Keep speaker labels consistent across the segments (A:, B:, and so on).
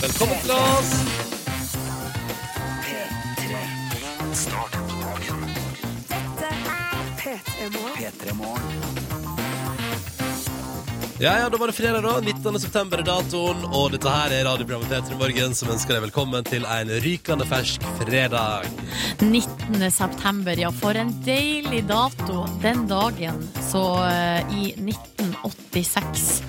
A: Velkommen til oss! Ja, ja, da var det fredag, da. 19. september er datoen, og dette her er radioprogrammet P3 Morgen, som ønsker deg velkommen til en rykende fersk fredag.
B: 19. september, ja. For en deilig dato. Den dagen, så eh, i 1986,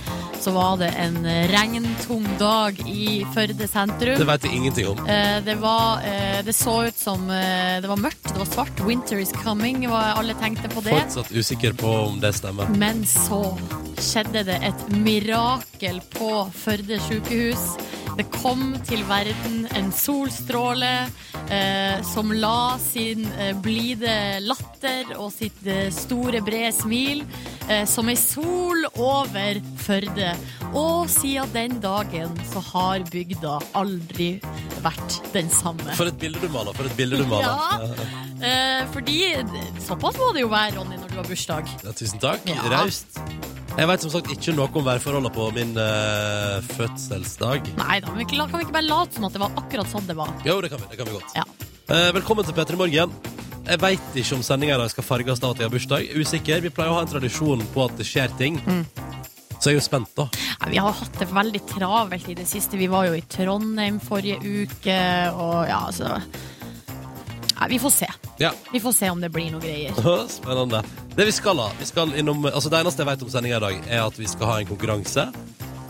B: så var det en eh, regntung dag i Førde
A: Det
B: sentrum.
A: veit jeg ingenting om.
B: Eh, Det, var, eh, det så ut som eh, det var mørkt, det var svart. 'Winter is coming', var alle tenkte på det.
A: Fortsatt usikker på om det stemmer.
B: Men så skjedde det et mirakel på Førde sykehus. Det kom til verden en solstråle eh, som la sin eh, blide latter og sitt eh, store, brede smil eh, som ei sol over Førde. Og siden den dagen så har bygda aldri vært den samme.
A: For et bilde du maler, for et bilde du maler.
B: Ja. Eh, fordi såpass må det jo være, Ronny, når du har bursdag.
A: Ja, tusen takk.
B: Ja.
A: Raust. Jeg veit som sagt ikke noe om værforholdene på min eh, fødselsdag.
B: Nei da, men kan vi ikke bare late som at det var akkurat sånn det var?
A: Jo, det kan vi. det kan vi godt.
B: Ja.
A: Eh, velkommen til P3 Morgen. Jeg veit ikke om sendinga i dag skal farges av at jeg har bursdag. Usikker. Vi pleier å ha en tradisjon på at det skjer ting.
B: Mm.
A: Så jeg er jo spent, da.
B: Nei, Vi har hatt det veldig travelt i det siste. Vi var jo i Trondheim forrige uke, og ja, altså Nei, vi får se.
A: Ja.
B: Vi får se om det blir noe greier.
A: Spennende. Det vi skal ha vi skal innom, altså Det eneste jeg vet om sendinga i dag, er at vi skal ha en konkurranse.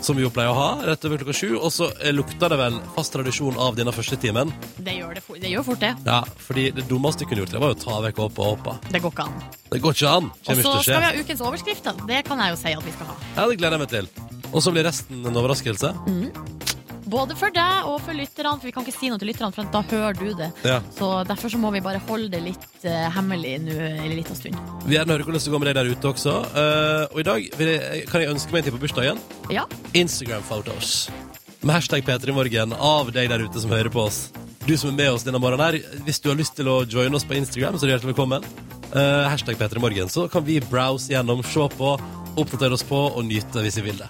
A: Som vi jo pleier å ha rett over klokka sju. Og så eh, lukter det vel fast tradisjon av denne første timen.
B: Det gjør, det, fort- det gjør fort, det.
A: Ja, fordi det dummeste du kunne gjort, det var jo å ta vekk Åpa Åpa.
B: Det går ikke an.
A: Det går ikke an.
B: Og
A: Kommer ikke
B: så
A: til å skje.
B: skal vi ha ukens overskrifter. Det kan jeg jo si at vi skal ha.
A: Ja, det gleder jeg meg til. Og så blir resten en overraskelse.
B: Både for deg og for lytterne, for vi kan ikke si noe til lytterne, for da hører du det.
A: Ja.
B: Så derfor så må vi bare holde det litt eh, hemmelig nå en liten stund.
A: Vi gjerne hører hvordan det går med deg der ute også. Eh, og i dag vil jeg, kan jeg ønske meg en ting på bursdagen.
B: Ja.
A: Instagram-photos. Med hashtag P3morgen av deg der ute som hører på oss. Du som er med oss denne morgenen her. Hvis du har lyst til å joine oss på Instagram, så er du hjertelig velkommen. Eh, hashtag P3morgen. Så kan vi browse gjennom, se på, oppdatere oss på og nyte hvis vi vil det.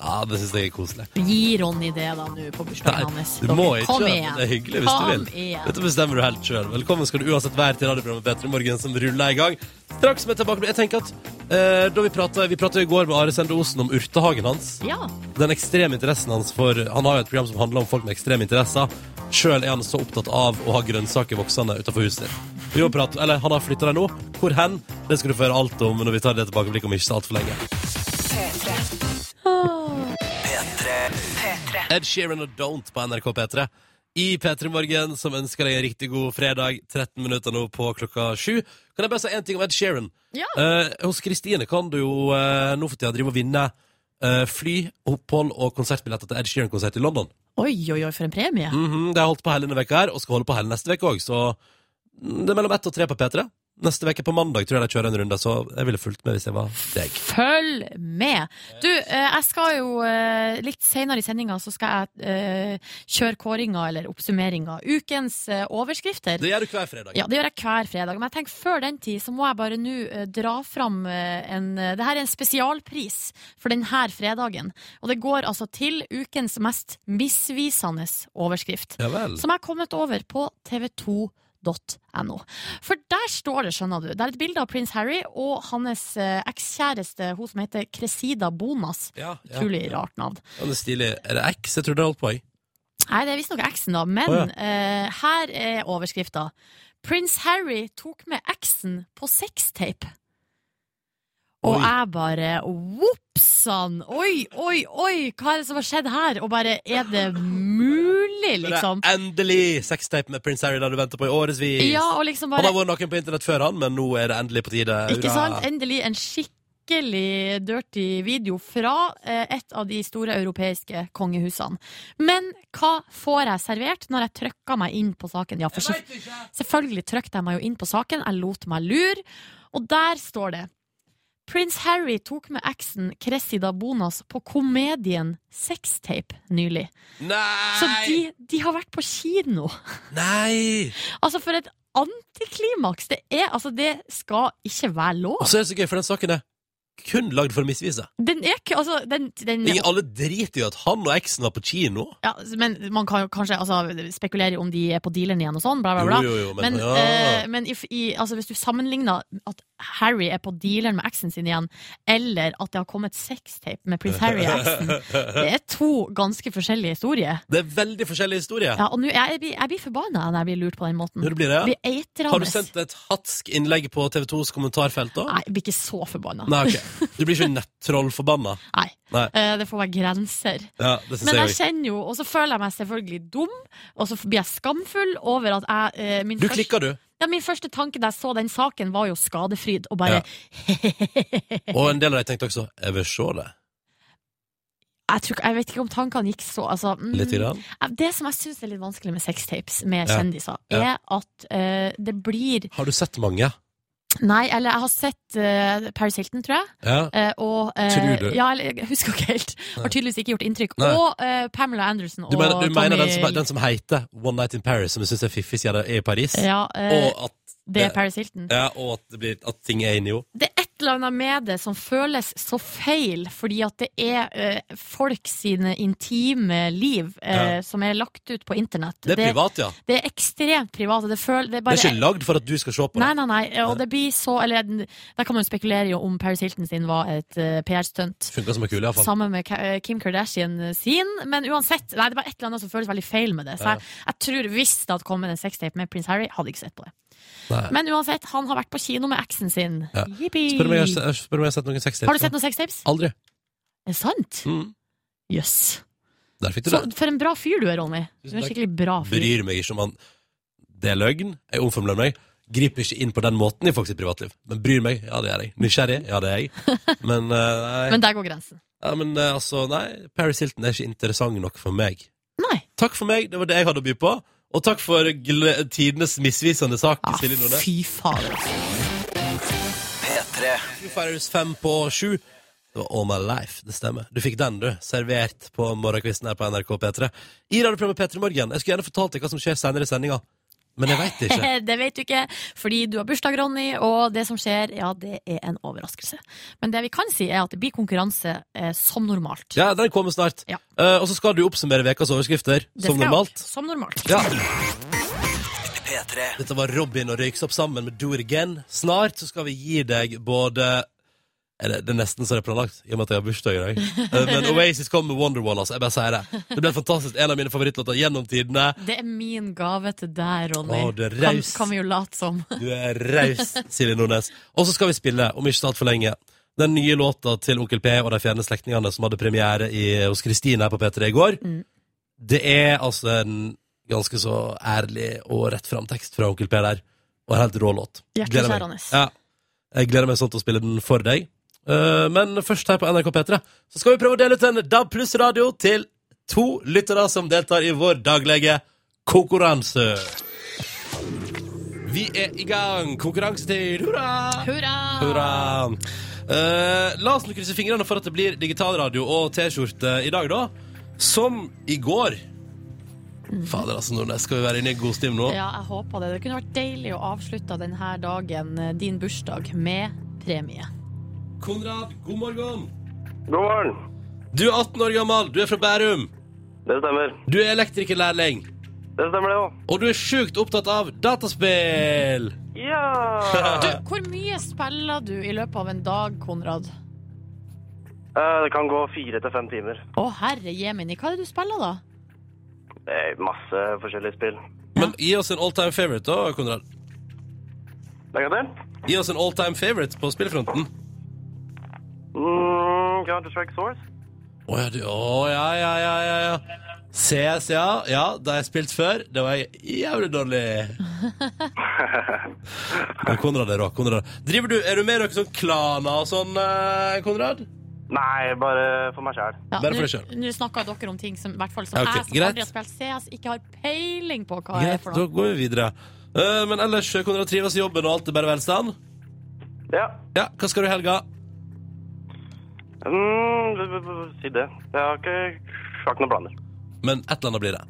A: Ja, det syns jeg er koselig.
B: Gi Ronny det da nå på
A: Nei,
B: bursdagen hans.
A: du
B: Dere,
A: må ikke.
B: Kom
A: men
B: igjen.
A: Det er hyggelig hvis
B: Kom
A: du vil.
B: Igjen.
A: Dette bestemmer du helt sjøl. Velkommen skal du uansett være til radioprogrammet Petter i morgen, som ruller i gang. Straks med tilbake. Jeg tenker at eh, da Vi pratet, vi pratet i går med Are Sende Osen om urtehagen hans.
B: Ja.
A: Den ekstreme interessen hans for Han har jo et program som handler om folk med ekstreme interesser. Sjøl er han så opptatt av å ha grønnsaker voksende utenfor huset sitt. Vi må prate, eller Han har flytta dem nå. Hvor hen? Det skal du få høre alt om når vi tar det tilbakeblikket om ikke så altfor lenge. Ed Sheeran og Don't på NRK P3. I P3 Morgen, som ønsker deg en riktig god fredag, 13 minutter nå på klokka sju. Kan jeg bare si én ting om Ed Sheeran?
B: Ja.
A: Eh, hos Kristine kan du jo eh, nå for tida drive og vinne eh, fly, opphold og konsertbilletter til Ed Sheeran-konsert i London.
B: Oi, oi, oi, for en premie.
A: Mhm, det har holdt på hele denne veka her, og skal holde på hele neste veke òg, så mm, det er mellom ett og tre på P3. Neste veke på mandag tror jeg de kjører en runde, så jeg ville fulgt med hvis jeg var deg.
B: Følg med! Du, eh, jeg skal jo eh, litt senere i sendinga så skal jeg eh, kjøre kåringa eller oppsummeringa. Ukens eh, overskrifter.
A: Det gjør du hver fredag.
B: Ja, det gjør jeg hver fredag. Men jeg tenker før den tid så må jeg bare nå eh, dra fram eh, en eh, Det her er en spesialpris for denne fredagen. Og det går altså til ukens mest misvisende overskrift.
A: Ja vel.
B: som er kommet over på tv2.no. For der står det, skjønner du, det er et bilde av prins Harry og hans eh, ekskjæreste, hun som heter Cressida Bonas.
A: Ja, ja.
B: Utrolig rart navn.
A: Ja, det er stilig. Er det X? Jeg tror det holdt på, jeg.
B: Nei, det er visstnok eksen, da, men
A: Å,
B: eh, her er overskrifta. Prins Harry tok med eksen på sextape. Og
A: Oi.
B: jeg bare Vopsann! Oi, oi, oi! Hva er det som har skjedd her? Og bare Er det mulig, liksom?
A: Det er endelig sextape med Prince Harry, der du venter på i årevis.
B: Ja, og liksom
A: Han
B: bare
A: har vært naken på internett før, han, men nå er det endelig på tide.
B: Ikke
A: Hurra.
B: sant? Endelig en skikkelig dirty video fra eh, et av de store europeiske kongehusene. Men hva får jeg servert når jeg trykker meg inn på saken? Ja, for selv- selvfølgelig trykte jeg meg jo inn på saken, jeg lot meg lure, og der står det Prins Harry tok med eksen Cressida Bonas på komedien Sextape nylig.
A: Nei!
B: Så de, de har vært på kino!
A: Nei!
B: Altså, for et antiklimaks! Det, er, altså, det skal ikke være lov.
A: Og så er det så gøy, for den saken er kun lagd for å misvise.
B: Den er ikke Altså, den, den
A: Ingen, alle driter jo i at han og eksen var på kino.
B: ja, Men man kan jo kanskje altså, spekulere i om de er på dealeren igjen og sånn, bla, bla, bla.
A: Jo, jo, jo, men,
B: Men,
A: ja.
B: eh, men if, i, altså, hvis du sammenligner at Harry er på dealeren med eksen sin igjen, eller at det har kommet sextape med prins Harry og eksen, det er to ganske forskjellige historier.
A: Det er veldig forskjellig historie.
B: Ja, og nå, jeg, blir- jeg blir forbanna når jeg blir lurt på den måten.
A: Når det blir det, ja.
B: Jeg blir eitrende.
A: Har du sendt et hatsk innlegg på TV 2s kommentarfelt da?
B: Nei, jeg blir ikke så forbanna.
A: Nei, ok. Du blir ikke nettrollforbanna.
B: Nei.
A: Nei.
B: Eh, det får være grenser.
A: Ja, det synes
B: Men altså,
A: jeg
B: jeg
A: også.
B: kjenner jo, og så føler jeg meg selvfølgelig dum, og så blir jeg skamfull over at jeg eh, min,
A: Du
B: første-
A: klikker, du.
B: ja, min første tanke da jeg så den saken, var jo skadefryd, og bare
A: Ja. Og en del av deg tenkte også 'jeg vil se det'.
B: jeg, tror, ikke- jeg vet ikke om tankene gikk så altså, mm,
A: Litt. Grann.
B: jeg- Det som jeg syns er litt vanskelig med sextapes med
A: Ja.
B: kjendiser,
A: Ja.
B: er at eh, det blir
A: Har du sett mange?
B: Nei, eller jeg har sett eh, Paris Hilton, tror jeg.
A: Ja.
B: eh, og, eh,
A: Tror du?
B: Ja, eller, jeg husker ikke helt. Har tydeligvis ikke gjort inntrykk.
A: Nei.
B: Og eh, Pamela Anderson og
A: Du mener, du mener
B: Tommy
A: den, som, den som heter One Night in Paris, som jeg syns er fiffig siden det er i Paris?
B: Ja, eh,
A: Og at,
B: det er Paris Hilton.
A: ja, og at, det blir, at ting er inni henne.
B: det er et eller annet med det som føles så feil, fordi at det er eh, folk sine intime liv eh, som er lagt ut på internett.
A: Det er privat, ja.
B: det er ekstremt privat. og Det, føl, det er
A: Det
B: bare
A: er ikke lagd for at du skal se på det.
B: Nei, nei, nei. Og det blir så Eller der kan man jo spekulere i om Paris Hilton sin var et eh, PR-stunt.
A: Funka som en kule, iallfall.
B: Sammen med Ka- eh, Kim Kardashian sin. Men uansett, nei, det var et eller annet som føles veldig feil med det. Så
A: Ja.
B: jeg, jeg tror hvis det hadde kommet en sextape med prins Harry, hadde jeg ikke sett på det.
A: Nei.
B: Men uansett, han har vært på kino med eksen sin.
A: Ja.
B: Jippi!
A: Spør om jeg har, se- spør om jeg har sett noen sextapes.
B: Har du sett noen sextapes?
A: Aldri.
B: Er det sant?
A: Mm.
B: Jøss.
A: Der fikk du det.
B: Så- For en bra fyr du er, Ronny. Du er en
A: Tusen takk.
B: skikkelig bra fyr.
A: Bryr meg ikke om han Det er løgn. Jeg omfavner meg. Griper ikke inn på den måten i folk sitt privatliv. Men bryr meg. Ja, det gjør jeg. Nysgjerrig. Ja, det er jeg. Men, eh, nei.
B: Men der går grensen.
A: ja, men eh, altså, nei. Paris Hilton er ikke interessant nok for meg.
B: Nei.
A: Takk for meg. Det var det jeg hadde å by på. Og takk for gle tidenes misvisende sak.
B: Ah,
A: Silje Nordnes.
B: fy faen.
A: Foo Fighters fem på sju. Det var All My Life, det stemmer. Du fikk den, du. Servert på morgenkvisten her på NRK P3. I radioprogrammet P3 Morgen. Jeg skulle gjerne fortalt deg hva som skjer senere i sendinga, men jeg veit ikke.
B: Det vet du ikke, fordi du har bursdag, Ronny, og det som skjer, ja, det er en overraskelse. Men det vi kan si, er at det blir konkurranse eh, som normalt.
A: Ja, den kommer snart.
B: Ja.
A: Eh, og så skal du oppsummere ukas overskrifter,
B: Det
A: som
B: skal jeg
A: normalt.
B: også. Som normalt.
A: Ja. Dette var Robin og Røyksopp sammen med Do It Again. Snart så skal vi gi deg både er det, det er nesten så det er planlagt, i og med at jeg har bursdag i dag. Eh, Men Oasis kom med Wonderwall, altså. Jeg bare sier det. Det ble fantastisk. En av mine favorittlåter gjennom tidene.
B: Det er min gave til deg, Ronny.
A: Å, du er
B: kan,
A: raus.
B: kan vi jo late som.
A: Du er raus, Silje Nordnes. Og så skal vi spille, om ikke så altfor lenge, den nye låta til Onkel P og de fjerne slektningene som hadde premiere i, hos Kristine her på P3 i går.
B: Mm.
A: Det er altså en ganske så ærlig og rett fram tekst fra Onkel P der. Og en helt rå låt. Gleder meg.
B: Hjerteskjærende.
A: Ja. Jeg gleder meg sånn til å spille den for deg. Eh, men først her på NRK P3 så skal vi prøve å dele ut en DAB pluss-radio til to lyttere som deltar i vår daglige konkurranse. Vi er i gang. Konkurransetid. Hurra!
B: Hurra!
A: Hurra! Eh, la oss nå krysse fingrene for at det blir digitalradio og T-skjorte i dag, da. Som i går. Fader, altså, Nordnes, skal vi være inne i god stim nå?
B: Ja, jeg håper det. Det kunne vært deilig å avslutte denne dagen, eh, din bursdag, med premie.
A: Konrad, god morgen.
C: God morgen.
A: Du er 18 år gammel, du er fra Bærum.
C: Det stemmer.
A: Du er elektrikerlærling,
C: Det stemmer, det òg.
A: og du er sjukt opptatt av dataspill.
C: Ja!
B: Du, hvor mye spiller du i løpet av en dag, Konrad?
C: Eh, Det kan gå fire til fem timer.
B: Å, herre jemini, hva er det du spiller, da?
C: Det er masse forskjellige spill.
A: Men gi oss en all time favorite, da, Konrad.
C: Legg til.
A: Gi oss en all time favorite på spillfronten.
C: Mm, Counter-Strike Source.
A: Å ja, du. Å ja, ja, ja, ja, ja. CS, ja. Ja, det har jeg spilt før. Det var jeg jævlig dårlig. Men Konrad er rå. Konrad. Driver du, er du med i noen sånn klaner og sånn, eh, Konrad?
C: Nei, bare for meg sjæl.
B: Ja,
A: Bare for
B: nå-
A: deg selv.
B: Nå snakka dere om ting som, i hvert fall, som
A: Ja, ok,
B: jeg som
A: greit.
B: aldri har spilt CS, ikke har peiling på hva er
A: Greit,
B: for
A: da
B: noe.
A: går vi videre. Eh, men ellers, Konrad trives i jobben, og alt er bare velstand?
C: Ja.
A: Ja, hva skal du i helga?
C: Mm, b- b- b- si det. Jeg har ikke, jeg har ikke noen planer.
A: Men et eller annet blir det.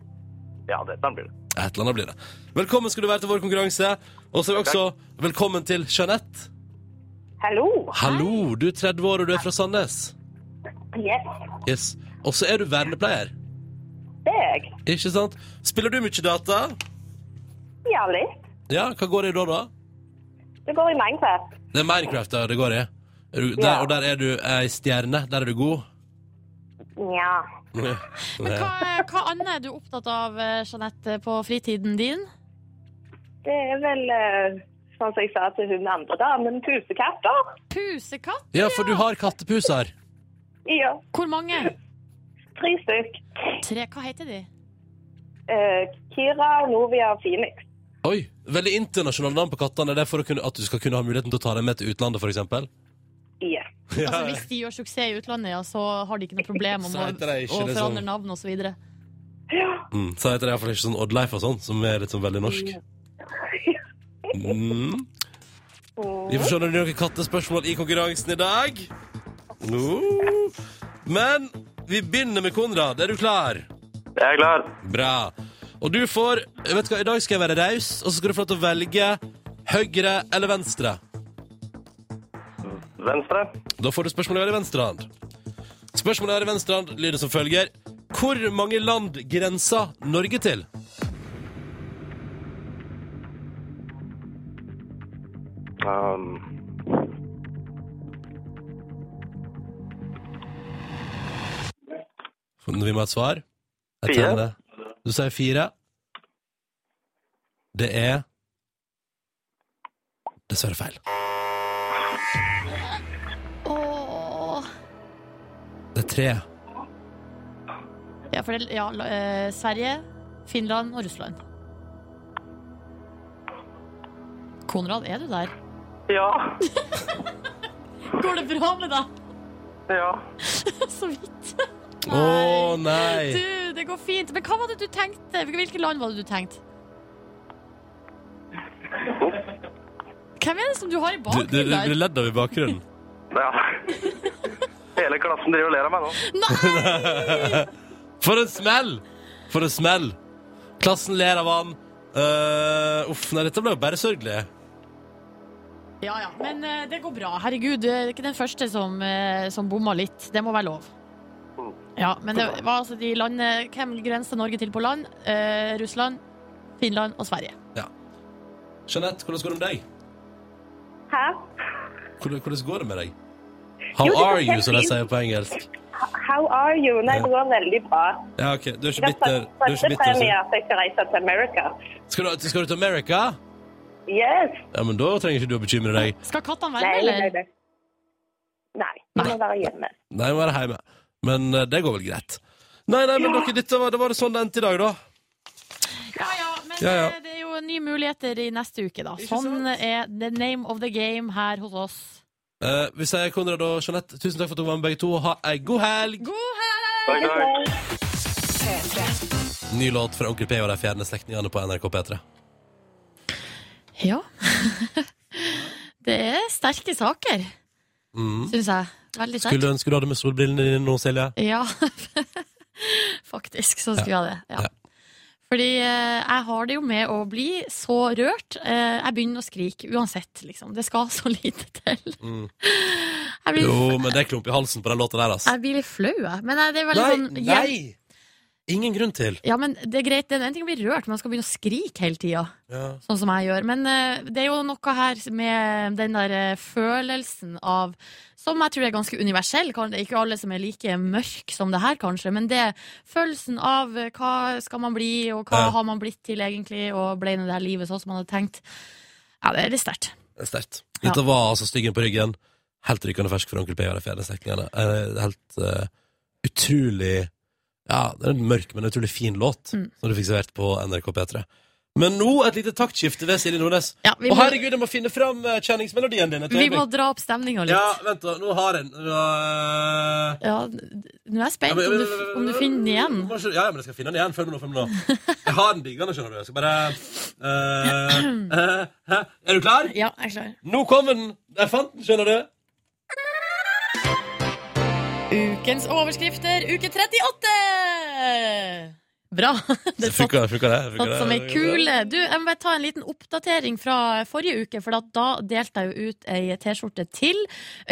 C: Ja, det den blir det.
A: Et eller annet blir det. Velkommen skal du være til vår konkurranse. Og så er vi også velkommen til Jeanette.
D: Hallo.
A: Hallo, du er 30 år og du er fra Sandnes.
D: Yes,
A: Yes. Og så er du vernepleier.
D: det er jeg.
A: Ikke sant? Spiller du mye data?
D: Ja, litt.
A: Ja, hva går det i da, da?
D: Det går i Minecraft.
A: Det er Minecraft ja, det går i. Er du- Der,
D: Ja.
A: og der er du ei stjerne. Der er du god.
D: Nja.
B: Men hva, hva annet er du opptatt av, eh, Jeanette, på fritiden din?
D: Det er vel, eh, sånn som jeg sa til hun andre damen, pusekatter.
B: Pusekatt?
A: Ja, for du har kattepuser.
D: Ja,
B: Hvor mange?
D: tre stykk.
B: Tre? Hva heter de?
D: Eh, Kira, Novia og Phoenix.
A: Oi, Veldig internasjonale navn på kattene. Det er for å kunne, at du skal kunne ha muligheten til å ta dem med til utlandet, f.eks.
D: Yes.
B: Altså, hvis de gjør suksess i utlandet, ja, så har de ikke noe problem om
A: Så
B: å,
A: heter de ikke
B: å
A: det
B: forandre
A: sånn.
B: navn osv.
A: Mm, så heter det iallfall ikke sånn Oddleif og sånn, som er litt sånn veldig norsk. Mm. Vi får se om det blir noen kattespørsmål i konkurransen i dag. Uh. Men vi begynner med Konrad. Er du klar?
C: Jeg er klar.
A: Bra. Og du får vet du hva, I dag skal jeg være raus, og så skal du få lov til å velge høyre eller venstre.
C: Venstre.
A: Da får du spørsmålet her i venstre hand. Spørsmålet her i venstre hand lyder som følger. Hvor mange land grenser Norge til?
C: Um,
A: Vi må ha et svar. Jeg
C: Fire.
A: tegner det. Du sier fire. Det er Dessverre feil.
B: Åh.
A: Det er tre.
B: Ja, for det, ja, la- eh, Sverige, Finland og Russland. Konrad, er du der?
C: ja.
B: Går det bra med deg?
C: Ja.
B: Så vidt.
A: Å nei!
B: Du, det går fint. Men hva var det du tenkte? Hvilke land var det du tenkte? Hvem er det som du har i
A: Du, du, du
B: bakgrunnen
A: blir
B: der?
A: ledd av i bakgrunnen.
C: ja. Hele klassen driver og ler av meg nå.
A: For en smell! For en smell! Klassen ler av han. Eh, uff, nei, dette ble jo bare sørgelig.
B: Ja, ja. Men eh, det går bra. Herregud, det er ikke den første som, eh, som bomma litt. Det må være lov.
C: Mm.
B: Ja, men det var altså de landene Hvem grenser Norge til på land? Eh, Russland, Finland og Sverige.
A: Jeanette, hvordan går det med deg?
D: Hæ?
A: Hvordan, hvordan går det med deg? How
D: Jo, det går
A: are you,
D: helt
A: som de
D: fint.
A: sier på engelsk.
D: How are you? Nei, det går veldig bra.
A: Ja, ok, Du er ikke
D: Det
A: bitter? Du er ikke bitter
D: premie
A: så.
D: at jeg skal reise til America.
A: skal, du, skal du til America?
D: Yes.
A: Ja, men Da trenger ikke du å bekymre deg.
B: Skal kattene
D: Nei,
B: være med,
D: nei,
B: eller?
D: nei. Nei, vi må være hjemme.
A: Nei, må være hjemme. Men eh, det går vel greit. Nei, nei, men dere, dette var, det var det sånn det endte i dag, da.
B: Ja, ja, men
A: Ja, ja.
B: eh, det er jo nye muligheter i neste uke, da.
A: Ikke
B: Sånn
A: sant?
B: er the name of the game her hos oss.
A: Eh, vi sier Konrad og Jeanette, tusen takk for at dere var med, begge to. Ha ei god helg!
B: God helg!
C: Takk, takk.
A: Ny låt fra Onkel P og de fjerne slektningene på NRK P3.
B: Ja. det er sterke saker,
A: Mm.
B: syns jeg. Veldig sterkt.
A: Skulle ønske du hadde med solbrillene dine nå, Silje.
B: Ja, faktisk så skulle jeg det. Ja.
A: Ja.
B: Fordi eh, jeg har det jo med å bli så rørt. Eh, jeg begynner å skrike uansett, liksom. Det skal så lite til.
A: Mm.
B: Jeg blir,
A: Jo, men det er klump i halsen på den låta der, altså.
B: jeg blir litt flau, jeg. Men eh, det er veldig
A: Nei,
B: sånn
A: nei! Ingen grunn til.
B: Ja, men det er greit. Det er en ting å bli rørt, men man skal begynne å skrike hele tida.
A: Ja.
B: Sånn som jeg gjør. Men eh, det er jo noe her med den der eh, følelsen av Som jeg tror er ganske universell. Kan, det er ikke alle som er like mørk som det her, kanskje. Men det følelsen av eh, hva skal man bli, og hva
A: Ja.
B: har man blitt til egentlig, og ble nå det her livet sånn som man hadde tenkt. Ja, det er litt sterkt.
A: Det er sterkt. Dette var altså styggen på ryggen. Helt rykende fersk for Onkel P og de fjerne slektningene. Eh, Helt eh, utrolig Ja, det er en mørk, men utrolig fin låt
B: Mm.
A: som du fikk servert på NRK P3. Men nå et lite taktskifte ved Silje Nordnes.
B: Ja, vi
A: Å,
B: må,
A: herregud, jeg må finne fram eh, kjenningsmelodien din. et
B: vi må
A: øyeblikk.
B: dra opp stemninga
A: Ja,
B: litt.
A: vent, da. Nå har jeg den. Øh,
B: Ja, nå er jeg
A: ja,
B: spent
A: men-
B: om du, om du finner den igjen.
A: Må ikke- Ja, ja, men jeg skal finne den igjen. Følg med nå. følg med nå Jeg har den diggende, skjønner du. Jeg skal bare øh, øh, øh, Er du klar?
B: Ja, jeg er klar.
A: Nå kommer den! Jeg fant den, skjønner du.
B: Ukens overskrifter, uke 38! Bra.
A: Det
B: Det satt,
A: funker, funker det? Funker
B: satt som ei
A: det?
B: kule. Du, jeg må bare ta en liten oppdatering fra forrige uke, for at da delte jeg jo ut ei T-skjorte til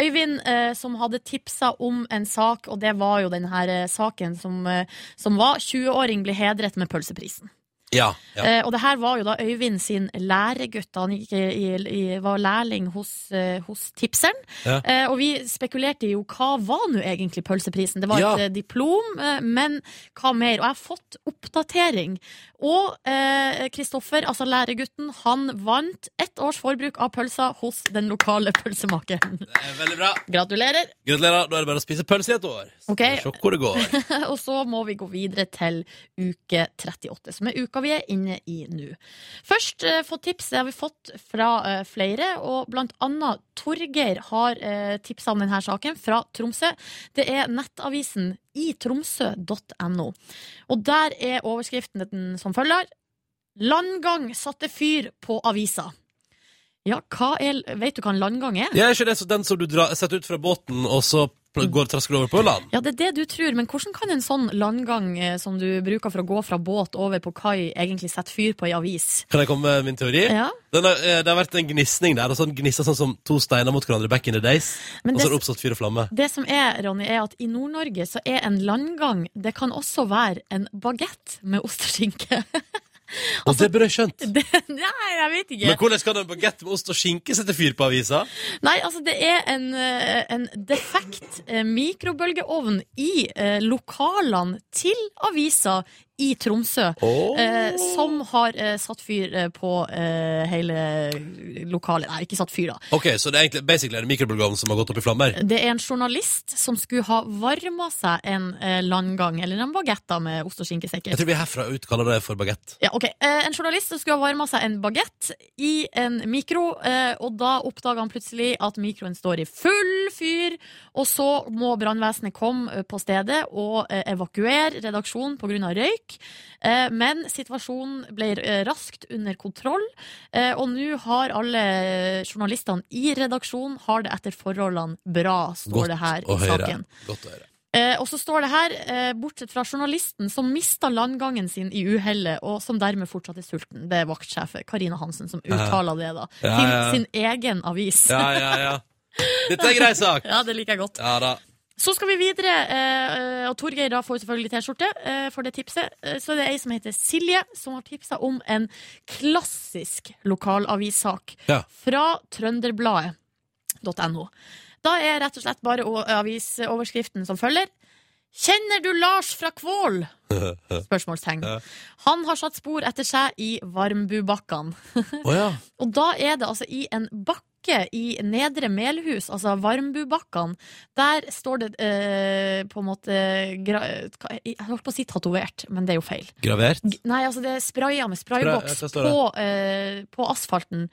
B: Øyvind, eh, som hadde tipsa om en sak, og det var jo den her eh, saken som, eh, som var 20-åring blir hedret med pølseprisen.
A: Ja. ja.
B: Eh, og det her var jo da Øyvind sin læregutt. da Han gikk i, i, var lærling hos, eh, hos tipseren.
A: Ja.
B: Eh, og vi spekulerte jo hva var nå egentlig pølseprisen? Det var
A: Ja.
B: et eh, diplom, eh, men hva mer? Og jeg har fått oppdatering. Og eh, Kristoffer, altså læregutten, han vant ett års forbruk av pølser hos den lokale pølsemakeren.
A: Det er Eh, veldig bra.
B: Gratulerer!
A: Gratulerer. Da er det bare å spise pølse i et år. Så
B: Ok.
A: får vi Se hvor det går.
B: Og så må vi gå videre til uke 38, som er uka vi er inne i nå. Først eh, få tips, det har vi fått fra eh, flere, og blant annet Torgeir har eh, tipsa om denne saken fra Tromsø. Det er nettavisen itromsø.no. Og der er overskriften den som følger. Landgang satte fyr på avisa. Ja, hva er, vet du hva en landgang er?
A: Ja, er ikke det så den som du drar, setter ut fra båten, og så pl- går trasker over på land?
B: Ja, det er det du tror, men hvordan kan en sånn landgang eh, som du bruker for å gå fra båt over på kai, egentlig sette fyr på ei avis?
A: Kan jeg komme med min teori?
B: Ja,
A: Den har, eh, det har vært en gnisning der, og sånn gnisser sånn som to steiner mot hverandre back in the days, og
B: men
A: så
B: det,
A: har det oppstått fyr og flamme.
B: det som er, Ronny, er at i Nord-Norge så er en landgang Det kan også være en bagett med ost og skinke.
A: Og det burde jeg skjønt.
B: Det, nei, jeg vet ikke.
A: Men hvordan kan en bagett med ost og skinke sette fyr på avisa?
B: Nei, altså det er en, eh, en defekt eh, mikrobølgeovn i eh, lokalene til avisa i Tromsø. Eh, som har eh, satt fyr eh, på eh, hele lokalet. Nei, ikke satt fyr, da.
A: Ok, så det er egentlig basically er det mikrobølgeovnen som har gått opp i flammer?
B: Det er en journalist som skulle ha varma seg en eh, landgang, eller en bagett da, med ost og skinke,
A: Jeg
B: sikkert.
A: tror vi herfra ut kaller det for bagett.
B: Ja, ok. Eh, En journalist som skulle ha varma seg en bagett i en mikro, eh, og da oppdaga han plutselig at mikroen står i full fyr, og så må brannvesenet komme eh, på stedet og eh, evakuere redaksjonen pga. røyk. Eh, Men situasjonen ble eh, raskt under kontroll, eh, og nå har alle eh, journalistene i redaksjonen har det etter forholdene bra, står det her
A: å
B: i
A: høre.
B: saken.
A: Godt å høre.
B: Eh, og så står det her, eh, bortsett fra journalisten som mista landgangen sin i uhellet, og som dermed fortsatt er sulten. Det er vaktsjef Karina Hansen som uttaler det, da.
A: Ja,
B: Til
A: ja.
B: sin egen avis.
A: Ja, ja, ja. Dette er en grei sak.
B: Ja, det liker jeg godt.
A: Ja da.
B: Så skal vi videre, eh, og Torgeir da får selvfølgelig T-skjorte eh, for det tipset. Eh, Så det er ei som heter Silje, som har tipsa om en klassisk lokalavissak
A: Ja.
B: fra trønderbladet.no. Da er rett og slett bare o- avisoverskriften som følger. Kjenner du Lars fra Kvål? Spørsmålstegn.
A: Ja.
B: Han har satt spor etter seg i Varmbubakkene.
A: Å ja.
B: Og da er det altså i en bakke i Nedre Melhus, altså Varmbubakkene, der står det eh, på en måte gra hva- Jeg holdt på å si tatovert, men det er jo feil.
A: Gravert?
B: G- Nei, altså det er spraya med
A: Spray- ja, hva
B: sprayboks
A: står det?
B: på, eh, på asfalten.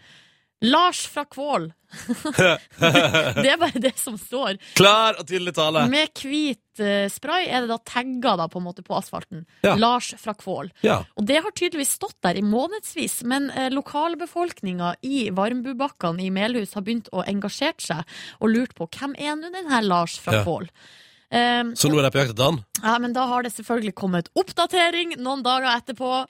B: Lars fra Kvål. det er bare det som står.
A: Klar og tydelig tale.
B: Med hvit eh, spray er det da tagga da, på, en måte, på asfalten.
A: Ja.
B: Lars fra Kvål.
A: Ja.
B: Og det har tydeligvis stått der i månedsvis, men eh, lokalbefolkninga i Varmbubakkene i Melhus har begynt å engasjere seg og lurt på hvem er nå den her Lars fra
A: Ja.
B: Kvål? Ehm,
A: Så nå er de på jakt etter han?
B: ja, men da har det selvfølgelig kommet oppdatering noen dager etterpå.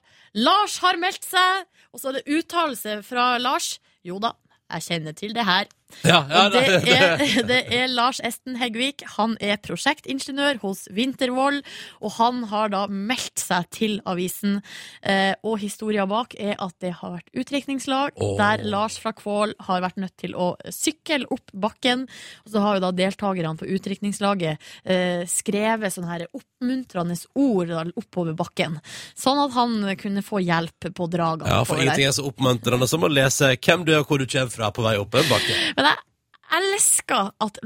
B: Lars har meldt seg, og så er det uttalelse fra Lars. Jo da, jeg kjenner til det her.
A: Ja, ja,
B: Og det, er, det er Lars Esten Heggvik. Han er prosjektingeniør hos Vintervoll, og han har da meldt seg til avisen. Eh, og historia bak er at det har vært utdrikningslag,
A: Åh.
B: der Lars fra Kvål har vært nødt til å sykle opp bakken. Og så har jo da deltakerne på utdrikningslaget eh, skrevet sånne her oppmuntrende ord da, oppover bakken, sånn at han kunne få hjelp på dragene.
A: Ja, for
B: oppover der.
A: ingenting er så oppmuntrende som å lese hvem du er og hvor du kommer fra på vei opp en bakke.
B: Men jeg elsker at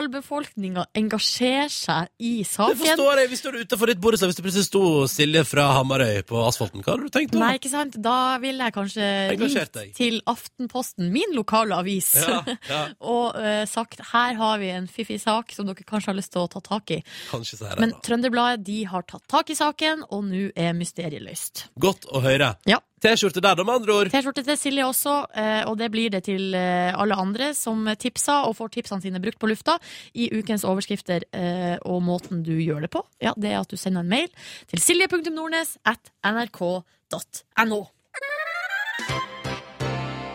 B: lokalbefolkninga engasjerer seg i
A: Det
B: saken.
A: forstår jeg. Hvis du er utenfor ditt borettslag, hvis det plutselig sto Silje fra Hamarøy på asfalten, hva hadde du tenkt da?
B: Nei, ikke sant? Da ville jeg kanskje
A: Engasjert
B: ringt
A: deg.
B: til Aftenposten, min lokale avis,
A: Ja, ja,
B: og eh, sagt her har vi en fiffig sak som dere kanskje har lyst til å ta tak i.
A: kanskje så er det
B: Men
A: da.
B: Trønderbladet de har tatt tak i saken, og nå er mysteriet løst.
A: Godt å høre.
B: Ja.
A: T-skjorte der, da, med andre ord.
B: T-skjorte til Silje også, eh, og det blir det til eh, alle andre som tipsa og får tipsene sine brukt på lufta i ukens overskrifter. eh, Og måten du gjør det på, ja, det er at du sender en mail til silje.nordnes at nrk.no.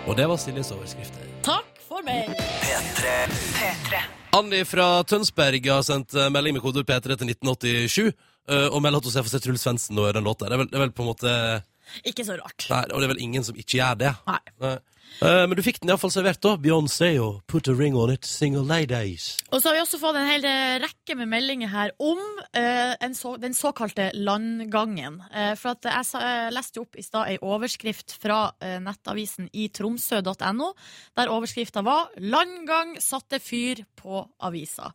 A: Og det var Siljes overskrifter.
B: Takk for meg!
A: Anni fra Tønsberg har sendt eh, melding med kodeord P3 til 1987. eh, og melder at hun ser for seg Truls Svendsen og den låta. Det er vel, det er vel på en måte Nei,
B: Ikke så rart.
A: Og det er vel ingen som ikke gjør det.
B: Nei.
A: Nei. Eh, men du fikk den iallfall servert, da. Beyoncé og Put a Ring On It, Single Ladies.
B: Og så har vi også fått en hel eh, rekke med meldinger her om eh, en så, den såkalte landgangen. Eh, for at jeg sa, jeg leste jo opp i stad ei overskrift fra eh, nettavisen i tromsø.no, der overskrifta var 'Landgang satte fyr på avisa'.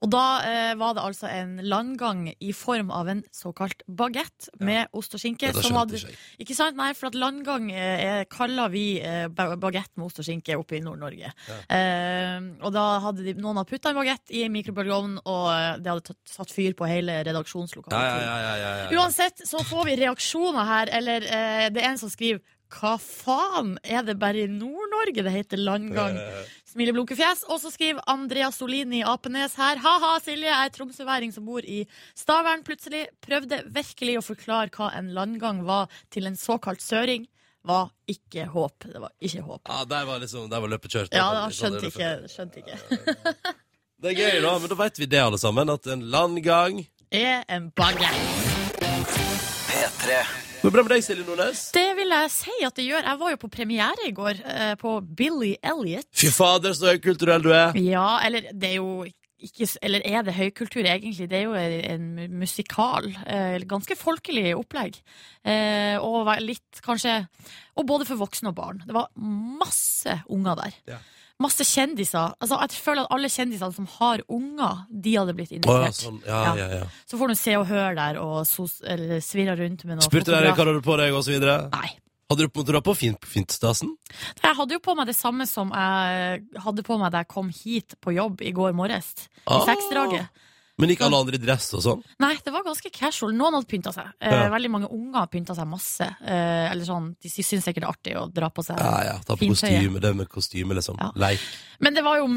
B: Og da eh, var det altså en landgang i form av en såkalt bagett med ost og skinke.
A: Dette
B: som
A: skjønte
B: hadde,
A: ikke jeg.
B: ikke sant? Nei, for at landgang eh, er- kaller vi eh, ba- bagett med ost og skinke oppe i Nord-Norge. Eh, og da hadde de, noen hadde putta en bagett i mikrobølgeovnen, og eh, det hadde tatt, satt fyr på hele redaksjonslokalet.
A: Ja, ja, ja, ja, ja, ja.
B: Uansett så får vi reaksjoner her, eller eh, det er en som skriver hva faen, er det bare i Nord-Norge det heter landgang?
A: Eh.
B: Smileblunkefjes. Og så skriver Andrea Solini Apenes her. Ha-ha, Silje er tromsøværing som bor i Stavern. Plutselig prøvde virkelig å forklare hva en landgang var til en såkalt søring. Var ikke håp. Det var ikke håp.
A: Ja, der var liksom, der var løpet kjørt.
B: Ja,
A: Der var
B: jeg
A: liksom-
B: skjønte ikke. Skjønte ikke.
A: Det er gøy, da. Men da veit vi det, alle sammen. At en landgang
B: Er en bagett.
A: Går det bra med deg, Silje Nordnes?
B: Det vil jeg si at det gjør. Jeg var jo på premiere i går eh, på Billy Elliot.
A: Fy fader, så høykulturell du er!
B: Ja, eller det er jo ikke, eller er det høykultur, egentlig? Det er jo en musikal. Eh, ganske folkelig opplegg. Eh, og var litt, kanskje Og både for voksne og barn. Det var masse unger der.
A: Ja.
B: Masse kjendiser. Altså, jeg føler at alle kjendisene som har unger, de hadde blitt
A: Å, ja,
B: invitert.
A: sånn. ja, ja, ja.
B: Så får du se og høre der, og sos, eller svirre rundt med noen
A: Spurte dere hva du hadde på deg, og så videre?
B: Nei.
A: Hadde du på måte du hadde på fint, fintstasen?
B: Jeg hadde jo på meg det samme som jeg hadde på meg da jeg kom hit på jobb i går morges.
A: Ah.
B: I seksdraget.
A: Men gikk alle andre i dress og sånn?
B: Nei, det var ganske casual. Noen hadde pynta seg. Eh,
A: Ja.
B: Veldig mange unger har pynta seg masse. Eh, eller sånn, De sy- syns sikkert det er artig å dra på seg.
A: Ja, ja, ta på
B: Fint
A: kostyme, det med kostyme, liksom.
B: Ja.
A: Leik.
B: Men det var jo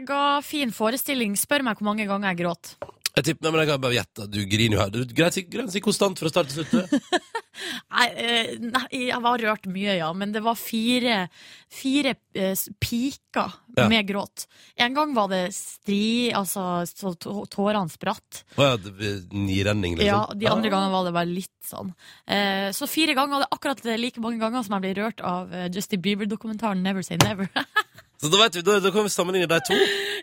B: megafin forestilling. Spør meg hvor mange ganger jeg gråt.
A: Jeg tipper, nei, men jeg kan bare gjette, du griner jo her. Du greit, si- greit, si konstant fra start til slutt. du.
B: Nei, eh, nei, jeg var rørt mye, ja. Men det var fire, fire eh, s- piker
A: Ja.
B: med gråt. En gang var det stri, altså så tå- tårene spratt.
A: Å ja, det blir nirenning,
B: Ja,
A: liksom.
B: De andre gangene var det bare litt sånn. Eh, så fire ganger, og det er akkurat like mange ganger som jeg ble rørt av eh, Justin Bieber-dokumentaren Never Say Never.
A: Så da vet vi, da, da kan vi sammenligne de to.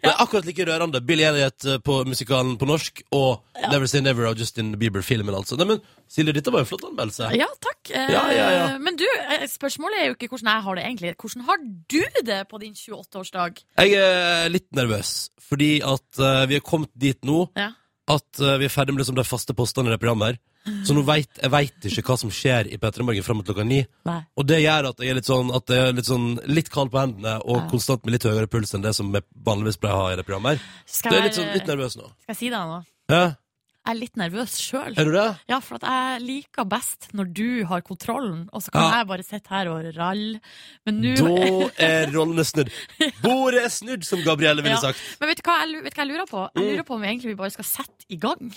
A: Det er akkurat like rørende. Billy Elliot eh, på musikalen på norsk, og Never Say Never av Justin Bieber-filmen, altså. Nei, men Silje, dette var jo en flott anmeldelse.
B: Ja, takk. Eh,
A: Ja, ja, ja.
B: Men du, eh, spørsmålet er jo ikke hvordan jeg har det egentlig. Hvordan har du det på din 28-årsdag?
A: Jeg er litt nervøs, fordi at eh, vi er kommet dit nå
B: Ja.
A: at eh, vi er ferdig med liksom de faste postene i det programmet her. Så nå vet, jeg vet ikke hva som skjer i P3 Morgen fram mot klokka ni.
B: Nei.
A: Og det gjør at jeg er litt sånn, at jeg er litt, sånn, litt kald på hendene og
B: Ja.
A: konstant med litt høyere puls enn det som jeg vanligvis pleier å ha i det programmet. her. Så
B: Skal
A: jeg er
B: jeg,
A: litt, sånn, litt nervøs nå.
B: skal jeg si deg noe?
A: Ja,
B: Jeg er litt nervøs sjøl.
A: er du det?
B: Ja, for at jeg liker best når du har kontrollen, og så kan
A: Ja.
B: jeg bare sitte her og ralle. Men nå
A: Da er rollene snudd. Bordet er snudd, som Gabrielle ville
B: Ja.
A: sagt.
B: Men vet du, hva jeg, lu- vet du hva jeg lurer på? Jeg lurer på om vi egentlig bare skal sette i gang.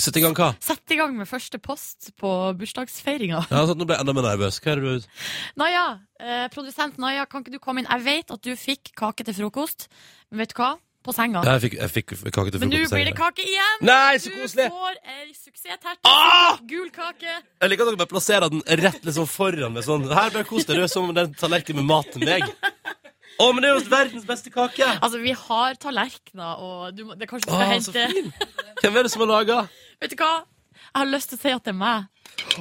A: Sett i gang hva?
B: Sette i gang med første post på bursdagsfeiringa.
A: Ja, sånn, nå ble jeg enda mer nervøs. Hva er det du...
B: Naja, eh, produsent Naja, kan ikke du komme inn? Jeg vet at du fikk kake til frokost, men vet du hva? På senga.
A: Ja, jeg fikk, jeg fikk kake til frokost.
B: Men nå
A: på senga.
B: blir det kake igjen!
A: Nei,
B: Du
A: så koselig!
B: får ei suksessterte.
A: Ah!
B: Gul kake.
A: Jeg liker at dere bare plasserer den rett liksom foran meg sånn. Her bør kos deg, du er som den tallerkenen med mat til meg. Å, men det er jo verdens beste kake!
B: Altså, vi har tallerkener, og du må, det er kanskje du skal
A: Å, Ah, så
B: hente
A: fin! Hvem er det som har laga?
B: Vet du hva? Jeg har lyst til å si at det er meg.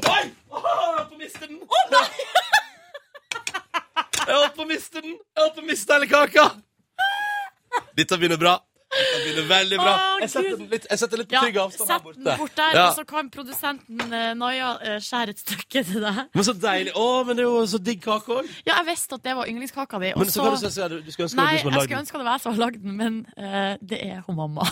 A: Oi! Åh, jeg holdt på å miste den! Å, nei! Jeg holdt på å miste den! Jeg holdt på å miste hele kaka! Dette begynner bra. Dette begynner veldig bra.
B: Å,
A: Jeg setter
B: Gud.
A: den litt, jeg setter litt
B: Ja,
A: trygg avstand her
B: Sett den
A: borte.
B: bort der,
A: Ja.
B: og så kan produsenten eh, Naja eh, skjære et stykke til deg.
A: Men så deilig. Å, men det er jo så digg kake òg.
B: Ja, jeg visste at det var yndlingskaka di. og
A: Men så kan du si at du skulle ønske det
B: Nei,
A: var du som hadde
B: jeg
A: lagd
B: skulle
A: den.
B: ønske det var jeg som hadde lagd den, men eh, det er hun mamma.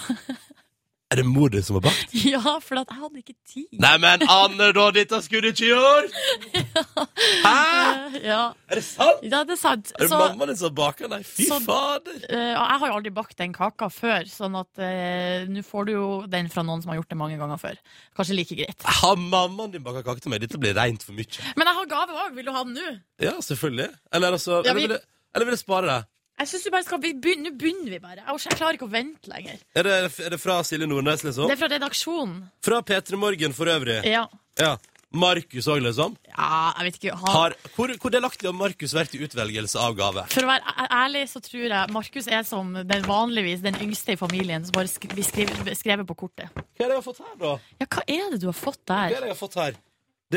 A: Er det mor di som har bakt?
B: Ja, for at jeg hadde ikke tid.
A: Neimen, Anne, da! Dette skulle du ikke gjort! Hæ?
B: Eh, Ja,
A: Er det sant?
B: ja det er sant.
A: Er det
B: Så,
A: mammaen din som baker? Nei, fy
B: så-
A: fader!
B: eh, og jeg har jo aldri bakt den kaka før, sånn at eh, nå får du jo den fra noen som har gjort det mange ganger før. Kanskje like greit.
A: Har mammaen din baka kake til meg? Dette blir reint for mye.
B: Men jeg har gave òg. Vil du ha den nå?
A: Ja, selvfølgelig. Eller altså
B: Ja,
A: eller,
B: vi-
A: vil, jeg, eller vil jeg spare det?
B: Jeg synes du bare skal, vi begyn- Nå begynner vi bare. Jeg orker- Jeg klarer ikke å vente lenger.
A: Er det, er det fra Silje Nordnes, liksom?
B: Det er fra redaksjonen.
A: Fra P3 Morgen for øvrig.
B: Ja.
A: Ja. Markus òg, liksom.
B: ja, jeg vet ikke. Ha,
A: Har, hvor, hvor delaktig har Markus vært i utvelgelse av gave?
B: For å være æ- ærlig så tror jeg Markus er som den vanligvis den yngste i familien som bare skri, blir skrevet, skrevet på kortet.
A: Hva er det jeg har fått her, da?
B: Ja, hva er det du har fått
A: Hva er
B: der?
A: det jeg har fått her?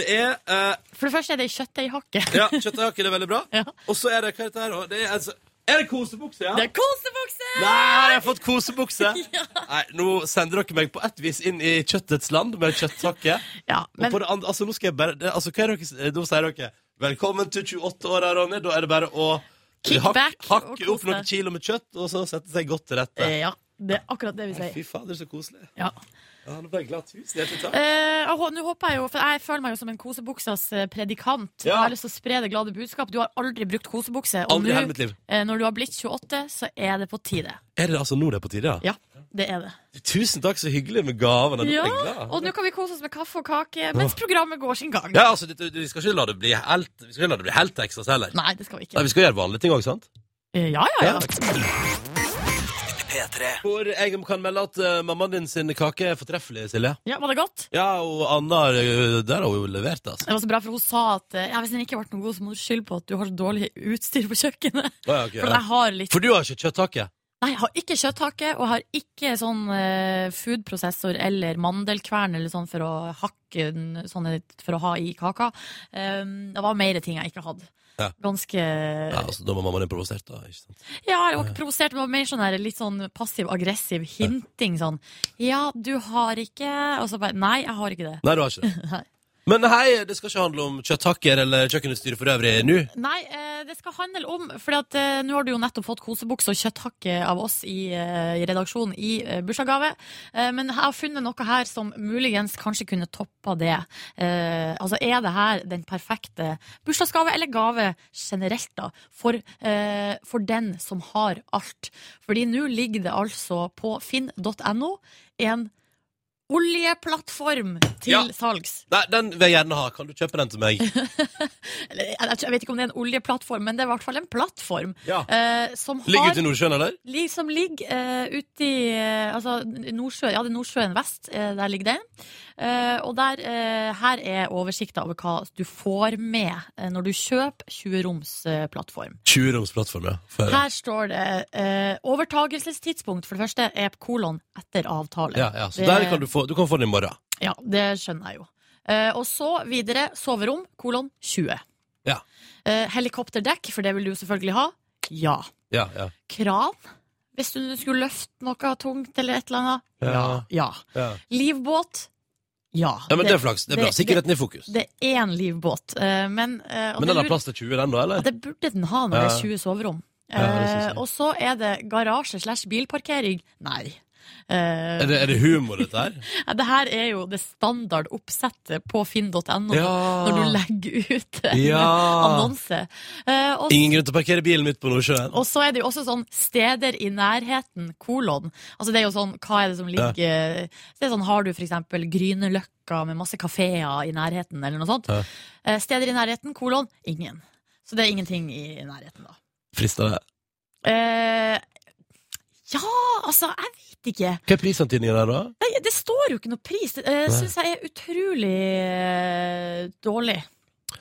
A: Det er eh,
B: For det første er det ei kjøttdeighakke.
A: Ja, kjøtthakke, det er veldig bra.
B: Ja.
A: Og så er det Hva er dette her? da? Det er, altså, er det kosebukse, ja?
B: Det er kosebukse!
A: Nei, jeg har fått kosebukse! Nei, nå sender dere meg på et vis inn i kjøttets land med kjøtthakke.
B: Ja,
A: og
B: men
A: på det andre, altså, nå skal jeg bare det, altså, hva er dere, Da sier dere 'Velkommen til 28-åra, Ronny'. Da er det bare å
B: Kick
A: hak-
B: back og
A: hakke
B: kos
A: opp noen
B: deg.
A: kilo med kjøtt, og så sette seg godt til rette.
B: eh, ja, det er akkurat det vi
A: Nei,
B: sier.
A: Fy fader, så koselig.
B: Ja.
A: Ja, nå ble jeg glad. Tusen hjertelig takk.
B: Eh, og hå- nå håper jeg jo, for jeg føler meg jo som en kosebuksas eh, predikant.
A: Ja.
B: Jeg har lyst til å spre det glade budskap. Du har aldri brukt kosebukse. Og
A: Aldri i
B: nå,
A: hele mitt liv.
B: eh, når du har blitt 28, så er det på tide.
A: Er det altså nå det er på tide?
B: Ja, det er det.
A: Tusen takk, så hyggelig med gavene. Nå
B: Ja,
A: ble jeg glad.
B: Og nå kan vi kose oss med kaffe og kake mens programmet går sin gang.
A: Ja, altså, det- det- vi skal ikke la det bli helt, vi skal ikke la det bli helt Texas heller. Nei.
B: Nei, det skal vi ikke.
A: vi skal gjøre vanlige ting òg, sant?
B: Eh, Ja, ja, ja.
A: Hvor jeg kan melde at eh, mammaen din sin kake er fortreffelig, Silje.
B: ja. Var det godt?
A: Ja, og Anna har, eh, der har hun jo levert, altså.
B: Det var så bra, for hun sa at eh, ja, hvis den ikke ble noe god, så må du skylde på at du har så dårlig utstyr på kjøkkenet.
A: Å, ja, ok,
B: For
A: ja.
B: jeg har litt
A: For du har ikke kjøtthakke?
B: Nei, jeg har ikke kjøtthake, og jeg har ikke sånn eh, foodprosessor eller mandelkvern eller sånn for å hakke den, sånn for å ha i kaka. Um, det var mer ting jeg ikke hadde.
A: Ja.
B: Ganske
A: Ja,
B: Ja,
A: altså, da var mammaen din provosert, da. Ikke sant?
B: jeg var ikke provosert, men det var mer sånn der, litt sånn passiv-aggressiv hinting sånn Ja, du har ikke Og så bare Nei, jeg har ikke det.
A: Nei, du har ikke det.
B: Nei.
A: Men hei, det skal ikke handle om kjøtthakker eller kjøkkenutstyr for øvrig nå.
B: Nei, eh, det skal handle om For eh, nå har du jo nettopp fått kosebukse og kjøtthakke av oss i, eh, i redaksjonen i eh, bursdagsgave. Eh, men jeg har funnet noe her som muligens kanskje kunne toppa det. Eh, altså, er det her den perfekte bursdagsgave eller gave generelt, da? For, eh, for den som har alt. Fordi nå ligger det altså på finn.no en oljeplattform til
A: Ja.
B: salgs.
A: Nei, den vil jeg gjerne ha. Kan du kjøpe den til meg?
B: Eller, jeg, jeg vet ikke om det er en oljeplattform, men det er i hvert fall en plattform.
A: Ja.
B: eh, som
A: Ligger
B: har,
A: ute i Nordsjøen, eller?
B: li- som ligger eh, ute i eh, altså, Nordsjøen, ja, det er Nordsjøen vest, eh, der ligger den. Eh, og der, eh, her er oversikta over hva du får med eh, når du kjøper 20-roms eh, plattform.
A: 20-roms plattform, ja. For,
B: Her står det eh, overtagelsestidspunkt, for det første, er kolon etter avtale.
A: ja, ja. Så
B: Det-
A: der kan du få Du kan få den i morgen.
B: Ja, det skjønner jeg jo. Eh, og så videre soverom, kolon 20.
A: Ja.
B: Eh, helikopterdekk, for det vil du jo selvfølgelig ha. Ja.
A: Ja, ja.
B: Kran, hvis du skulle løfte noe tungt eller et eller annet.
A: Ja.
B: ja.
A: Ja,
B: Livbåt. Ja.
A: ja men det, er flaks. Det er bra.
B: det-
A: Sikkerheten er i fokus.
B: Det er én livbåt, eh, men eh, og
A: Men
B: det
A: den har
B: lurer-
A: plass til 20, den, da?
B: ja,
A: eller?
B: Det burde den ha når det
A: Ja.
B: er 20 soverom.
A: Ja, det synes jeg.
B: Eh, og så er det garasje slash bilparkering. Nei. Eh,
A: Er det, er det humor, dette her?
B: Ja, Det her er jo det standard oppsettet på finn.no
A: Ja.
B: når du legger ut en
A: Ja.
B: annonse. Eh, og,
A: Ingen grunn til å parkere bilen midt på Nordsjøen.
B: og så er det jo også sånn steder i nærheten, kolon. Altså det er jo sånn, hva er det som ligger Det er sånn, Har du for eksempel Grünerløkka med masse kafeer i nærheten, eller noe sånt?
A: Ja.
B: Eh, steder i nærheten, kolon, ingen. Så det er ingenting i nærheten, da.
A: Frister det?
B: Eh, ja, altså, jeg vet ikke.
A: Hva er prisantydningen der, da?
B: Nei, det står jo ikke noe pris. Det uh,
A: Nei.
B: syns jeg er utrolig eh, dårlig.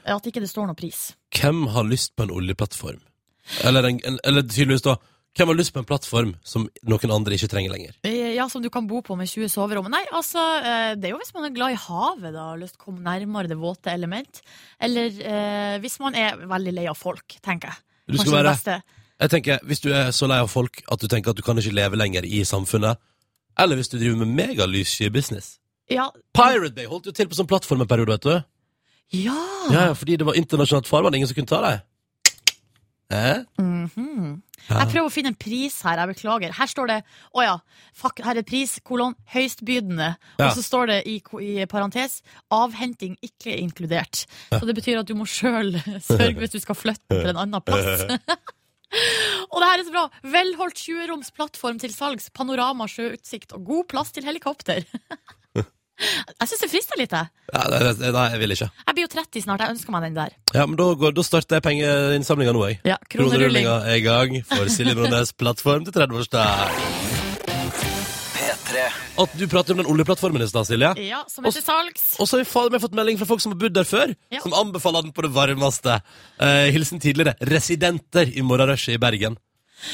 B: At ikke det står noe pris.
A: Hvem har lyst på en oljeplattform? Eller, en, en, eller tydeligvis, da. Hvem har lyst på en plattform som noen andre ikke trenger lenger?
B: Eh, Ja, Som du kan bo på med 20 soverom. Nei, altså, eh, det er jo hvis man er glad i havet da, har lyst til å komme nærmere det våte element. Eller eh, hvis man er veldig lei av folk, tenker jeg.
A: Du skal
B: Kanskje det
A: være
B: beste.
A: Jeg tenker, Hvis du er så lei av folk at du tenker at du kan ikke leve lenger i samfunnet, eller hvis du driver med megalyssky business
B: Ja.
A: Pirate Bay holdt jo til på sånn plattform en periode, vet du.
B: ja.
A: Ja, ja, Fordi det var internasjonalt farvann, ingen som kunne ta deg. Eh?
B: Mhm.
A: Ja.
B: Jeg prøver å finne en pris her, jeg beklager. Her står det å ja, fuck, her er pris, kolon, høystbydende.
A: Ja.
B: Og så står det i, ko- i parentes avhenting ikke inkludert. Så det betyr at du må sjøl sørge hvis du skal flytte til en annen plass. Og det her er så bra! Velholdt 20-roms plattform til salgs, panorama, sjøutsikt og god plass til helikopter. Jeg syns det frister litt, jeg.
A: Ja, nei, nei, nei, jeg vil ikke.
B: Jeg blir jo 30 snart, jeg ønsker meg den der.
A: Ja, men Da, går, da starter jeg pengeinnsamlinga nå, jeg.
B: Ja, kronerulling.
A: Kronerullinga er i gang for Silje Nordnes' plattform til 30-årsdag. At du prater om den oljeplattformen i stad, Silje.
B: Ja, som er til salgs.
A: Og så har vi faen meg fått melding fra folk som har bodd der før,
B: Ja.
A: som anbefaler den på det varmeste. Eh, hilsen tidligere residenter i morgenrushet i Bergen.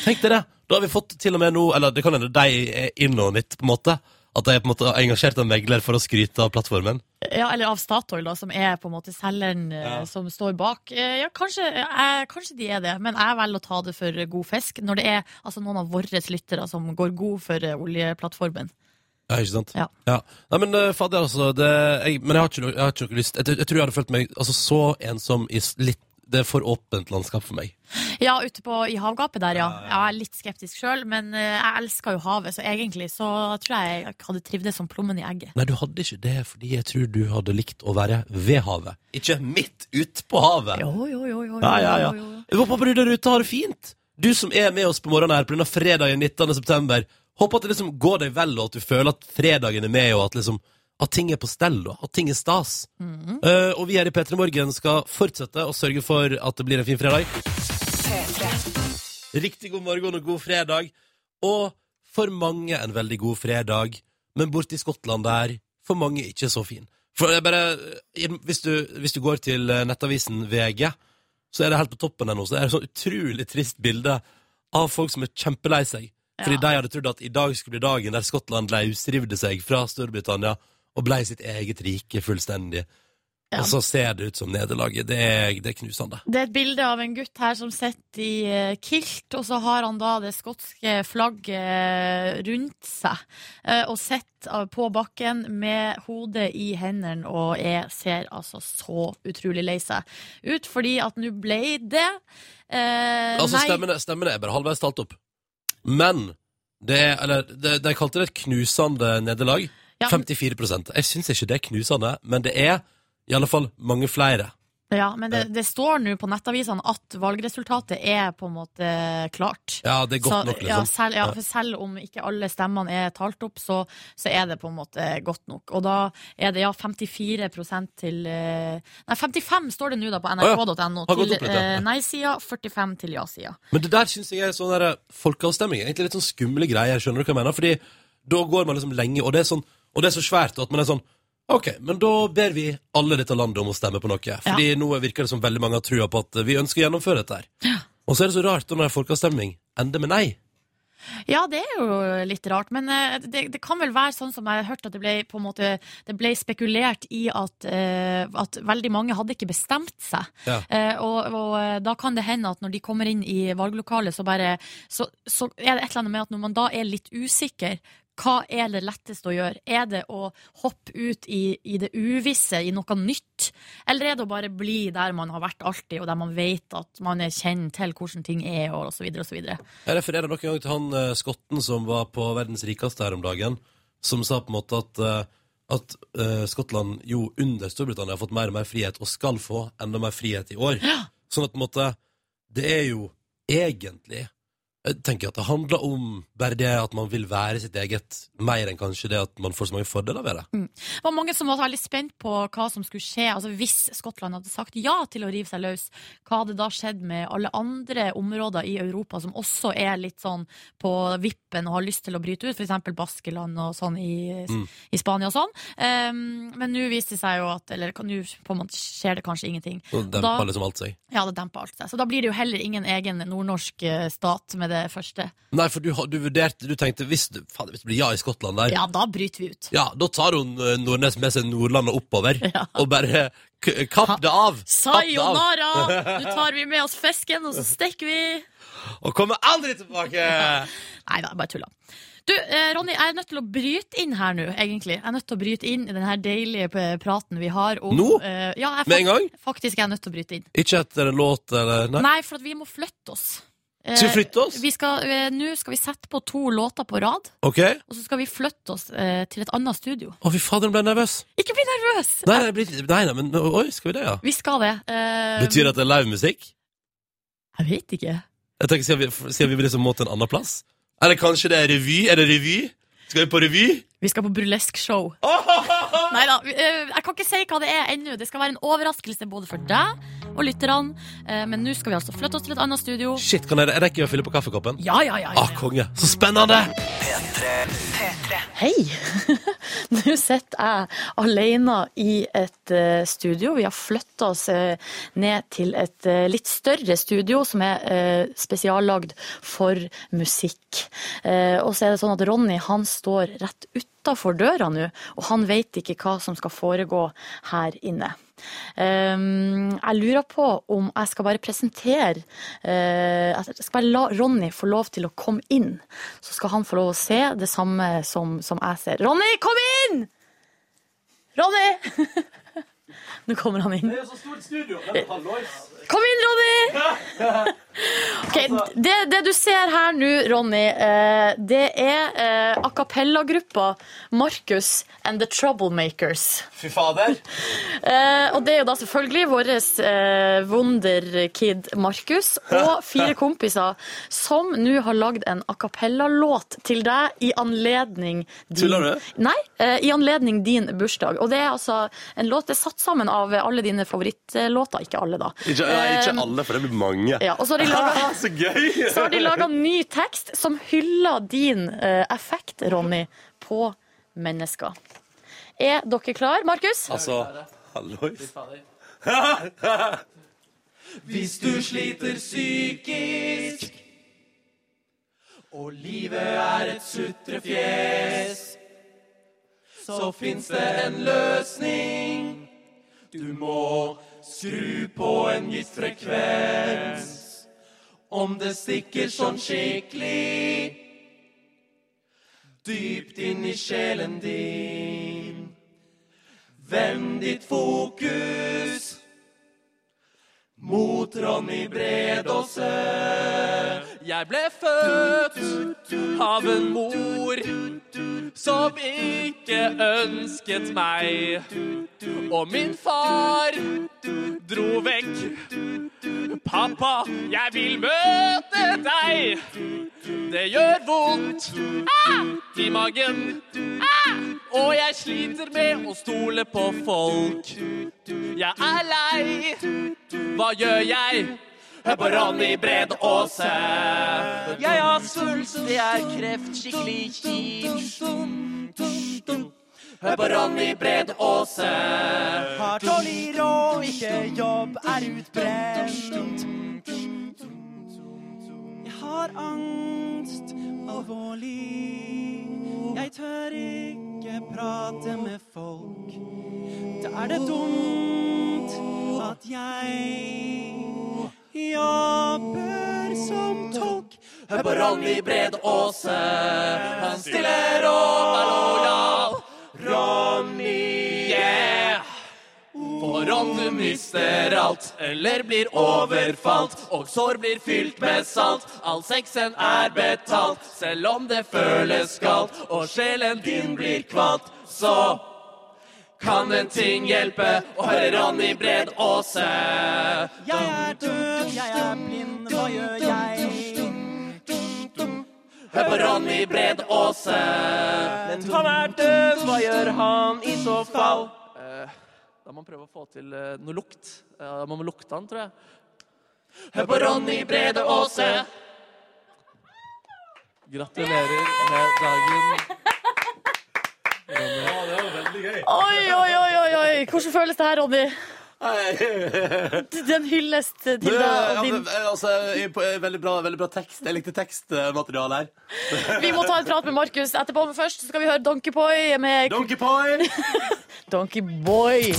A: Tenk dere, da har vi fått til og med nå Eller det kan hende de er innåndet, på en måte. At de er på en måte engasjert av megler for å skryte av plattformen.
B: Ja, eller av Statoil, da, som er på en måte selgeren eh,
A: Ja.
B: som står bak. Eh, Ja, kanskje, eh, kanskje de er det, men jeg velger å ta det for god fisk når det er altså, noen av våre lyttere som går god for eh, oljeplattformen.
A: Ja, ikke sant?
B: Ja.
A: Nei, men eh, fader, altså det, jeg, Men jeg har ikke, noe- jeg har ikke noe lyst jeg, jeg tror jeg hadde følt meg altså, så ensom i s- litt Det er for åpent landskap for meg.
B: Ja, ute på, i havgapet der, ja. ja jeg er litt skeptisk sjøl, men eh, jeg elsker jo havet, så egentlig så tror jeg jeg hadde trivdes som plommen i egget.
A: Nei, du hadde ikke det fordi jeg tror du hadde likt å være ved havet. Ikke midt ute på havet.
B: Jo, jo, jo. jo, jo,
A: Ja, ja, ja.
B: jo, jo, jo.
A: Jeg håper du der ute har det fint. Du som er med oss på morgenen her på denne fredagen 19. september. Håper at det liksom går deg vel, og at du føler at fredagen er med, og at liksom at ting er på stell, og at ting er stas.
B: Mhm.
A: Eh, og vi her i P3 Morgen skal fortsette å sørge for at det blir en fin fredag. Riktig god morgen og god fredag. Og for mange en veldig god fredag, men borte i Skottland der, for mange ikke så fin. For jeg bare, eh, hvis du, hvis du går til eh, nettavisen VG, så er det helt på toppen der nå. Så det er et sånn utrolig trist bilde av folk som er kjempelei seg. Fordi
B: Ja.
A: de hadde trodd at i dag skulle bli dagen der Skottland løsrivde seg fra Storbritannia og blei sitt eget rike fullstendig.
B: Ja.
A: Og så ser det ut som nederlaget. Det er, det er knusende.
B: Det er et bilde av en gutt her som sitter i eh, kilt, og så har han da det skotske flagget rundt seg. eh, Og sitter av- på bakken med hodet i hendene og er, ser altså så utrolig lei seg ut, fordi at nå ble det eh,
A: Altså,
B: nei.
A: stemmene, stemmene er bare halvveis talt opp. Men det er Eller de, de kalte det et knusende nederlag.
B: Ja,
A: 54 Jeg syns ikke det er knusende, men det er i alle fall mange flere.
B: ja, men det, det står nå på nettavisene at valgresultatet er på en måte klart.
A: Ja, det er godt
B: Så-
A: nok,
B: Ja,
A: liksom.
B: selv, ja,
A: Ja.
B: for selv om ikke alle stemmene er talt opp, så, så er det på en måte godt nok. Og da er det ja, 54 til eh, Nei, 55 står det nå da på nrk.no.
A: Har gått
B: Til
A: opp litt, ja.
B: eh, nei-sida, 45 til ja-sida.
A: Men det der syns jeg er sånn der folkeavstemning. Egentlig litt sånn skumle greier, skjønner du hva jeg mener? Fordi da går man liksom lenge, og det er, sånn, og det er så svært at man er sånn Ok, men da ber vi alle dette landet om å stemme på noe. Fordi nå virker det som veldig mange har trua på at eh, vi ønsker å gjennomføre dette her. Og så er det så rart da når en folkeavstemning ender med nei.
B: Ja, det er jo litt rart, men eh, det, det kan vel være sånn som jeg har hørt at det ble, på en måte, det ble spekulert i at, eh, at veldig mange hadde ikke bestemt seg.
A: Ja.
B: Eh, og, og eh, da kan det hende at når de kommer inn i valglokalet, så, bare, så, så er det et eller annet med at når man da er litt usikker, hva er det letteste å gjøre? Er det å hoppe ut i, i det uvisse, i noe nytt? Eller er det å bare bli der man har vært alltid, og der man vet at man er kjent til hvordan ting er, og så videre og så videre?
A: Jeg refererer nok en gang til han eh, skotten som var på verdens rikeste her om dagen, som sa på en måte at, eh, at eh, Skottland jo under Storbritannia har fått mer og mer frihet, og skal få enda mer frihet i år. Sånn at på en måte, det er jo egentlig jeg tenker at det handler om bare det at man vil være sitt eget, mer enn kanskje det at man får så mange fordeler ved det.
B: Det var mange som var veldig spent på hva som skulle skje. Altså Hvis Skottland hadde sagt ja til å rive seg løs, hva hadde da skjedd med alle andre områder i Europa som også er litt sånn på vippen og har lyst til å bryte ut, f.eks. Baskeland og sånn i,
A: Mm.
B: i Spania og sånn. Um, men nå viste det seg jo at Eller nå på en måte skjer det kanskje ingenting.
A: Så
B: Da-
A: demper liksom alt seg.
B: Ja, det demper alt seg. Så da blir det jo heller ingen egen nordnorsk eh, stat med det første.
A: Nei, for du, har- du vurderte, du tenkte, hvis, du, faen, hvis det blir ja i Skottland der,
B: Ja, da bryter vi ut.
A: Ja, da tar hun eh, Nordnes med seg Nordlandet oppover
B: Ja.
A: og bare k kapp det av. Kapp det av.
B: Sayonara! Nå tar vi med oss fisken, og så stikker vi.
A: Og kommer aldri tilbake!
B: Nei da, jeg bare tulla. Du, eh, Ronny, jeg er nødt til å bryte inn her nå, egentlig. Jeg er nødt til å bryte inn i den her deilige p- praten vi har om
A: Nå?
B: eh, ja, jeg,
A: Med en gang?
B: fak- Faktisk er jeg nødt til å bryte inn.
A: Ikke etter en låt eller
B: Nei,
A: Nei.
B: for at vi må flytte oss. Eh, Eh,
A: Skal vi flytte oss?
B: vi skal, eh, Nå skal vi sette på to låter på rad,
A: OK? Å,
B: og så skal vi flytte oss eh, til et annet studio.
A: fy fader, nå ble jeg nervøs.
B: Ikke bli nervøs!
A: Nei, nei, blir- nei, nei, men oi, skal vi det, ja?
B: Vi skal det. Eh,
A: Betyr det at det er livemusikk?
B: Jeg vet ikke.
A: Jeg tenker, Siden vi, siden vi liksom må til en annen plass? Eller kanskje det er revy? Er det revy? Skal vi på revy?
B: Vi skal på burlesque-show.
A: Ah!
B: Nei da, eh, jeg kan ikke si hva det er ennå. Det skal være en overraskelse både for deg og lytterne. Eh, Men nå skal vi altså flytte oss til et annet studio.
A: Shit, kan jeg, jeg rekker å fylle på kaffekoppen?
B: Ja, ja, ja. ja,
A: Ah,
B: ja.
A: konge. Så spennende!
B: Hei! Nå sitter jeg alene i et eh, studio. Vi har flytta oss eh, ned til et eh, litt større studio som er eh, spesiallagd for musikk. Eh, Og så er det sånn at Ronny han står rett utafor døra nå, og han veit ikke hva som skal foregå her inne. Um, jeg lurer på om jeg skal bare presentere eh, at Jeg skal bare la Ronny få lov til å komme inn. Så skal han få lov å se det samme som, som jeg ser. Ronny, kom inn! Ronny! Nå kommer han inn.
A: Det er så stort studio.
B: Eh.
A: Men hallois.
B: Kom inn, Ronny! Ok, det, det du ser her nå, Ronny, eh, det er eh, a cappella-gruppa Marcus and the Troublemakers.
A: Fy fader.
B: Eh, og det er jo da selvfølgelig vår eh, wonderkid Markus og fire kompiser som nå har lagd en a cappella-låt til deg i anledning din
A: Tuller du?
B: Nei, eh, i anledning din bursdag. Og det er altså en låt det er satt sammen av alle dine favorittlåter. Ikke alle, da. Eh,
A: Ikke, nei,
B: Um.
A: ikke alle, for det blir mange.
B: Ja, og så har de laga
A: Så gøy!
B: så har de laga ny tekst som hyller din eh, effekt, Ronny, på mennesker. Er dere klar, Markus?
A: Altså, hallois.
E: Hvis du sliter psykisk Og livet er et sutrefjes Så finnes det en løsning Du må skru på en gitt frekvens Om det stikker sånn skikkelig Dypt inn i sjelen din Vend ditt fokus mot Ronny Bredåse. Jeg ble født av en mor som ikke ønsket meg. Og min far dro vekk. Pappa, jeg vil møte deg. Det gjør vondt ah! i magen. Ah! Og jeg sliter med å stole på folk. Jeg er lei. Hva gjør jeg? Hør på Ronny Bred Aase. Jeg har svulst, det er kreft, skikkelig kjipt. Hør på Ronny Bred Aase. Har dårlig råd, ikke jobb, er utbrent. Jeg har angst, alvorlig. Jeg tør ikke prate med folk. Da er det dumt at jeg jobber som tolk. Hør på Ronny Bred Aase. Han stiller og er lojal. Ronny, yeah! For om du mister alt, eller blir overfalt, og sår blir fylt med salt, all sexen er betalt, selv om det føles galt, og sjelen din blir kvalt, så kan en ting hjelpe å høre Ronny Bred Aase. Jeg er død, jeg er blind, hva gjør jeg? Hør på Ronny Bred Aase. Men han er død, hva gjør han i så fall? Da må man prøve å få til eh, noe lukt. Eh, Da må man lukte den, tror jeg. Hør på Ronny Brede Aase. Gratulerer med dagen.
B: Oi, oi, oi, oi, oi. Hvordan føles det her, Ronny? Den hylles til deg og din
A: veldig, bra, veldig bra tekst. Jeg likte tekstmaterialet her.
B: Vi må ta en prat med Markus etterpå, men først skal vi høre Donkey Boy med
A: Donkey Pie!
B: Donkey Boy.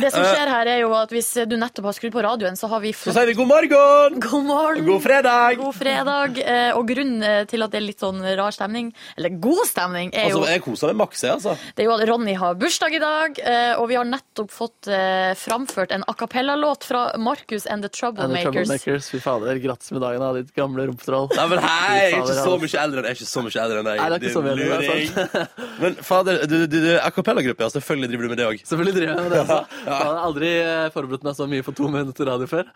B: Det som skjer her, er jo at hvis du nettopp har skrudd på radioen, så har vi
A: Så sier vi god morgen!
B: God morgen!
A: God fredag!
B: God fredag. Eh, Og grunnen eh, til at det er litt sånn rar stemning, eller god stemning, er jo,
A: Altså, jeg koser meg maks, jeg, altså.
B: det er jo at Ronny har bursdag i dag, eh, og vi har nettopp fått eh, framført en a cappella-låt fra Marcus and
F: And
B: the
F: the
B: Troublemakers.
F: Troublemakers. Fy fader, grattis med dagen, da, ditt gamle rumpetroll.
A: Nei, men hei, jeg
F: Fy
A: er ikke
F: fader,
A: så
F: altså.
A: mye eldre enn jeg er ikke så mye eldre enn deg.
F: Nei, det er ikke så mye eldre, det er
A: luring. Men fader, du, du, du, a cappella-gruppe, ja, selvfølgelig driver du med det òg.
F: Selvfølgelig driver jeg med det. Altså. Jeg hadde aldri eh, forberedt meg så mye på to minutter radio før.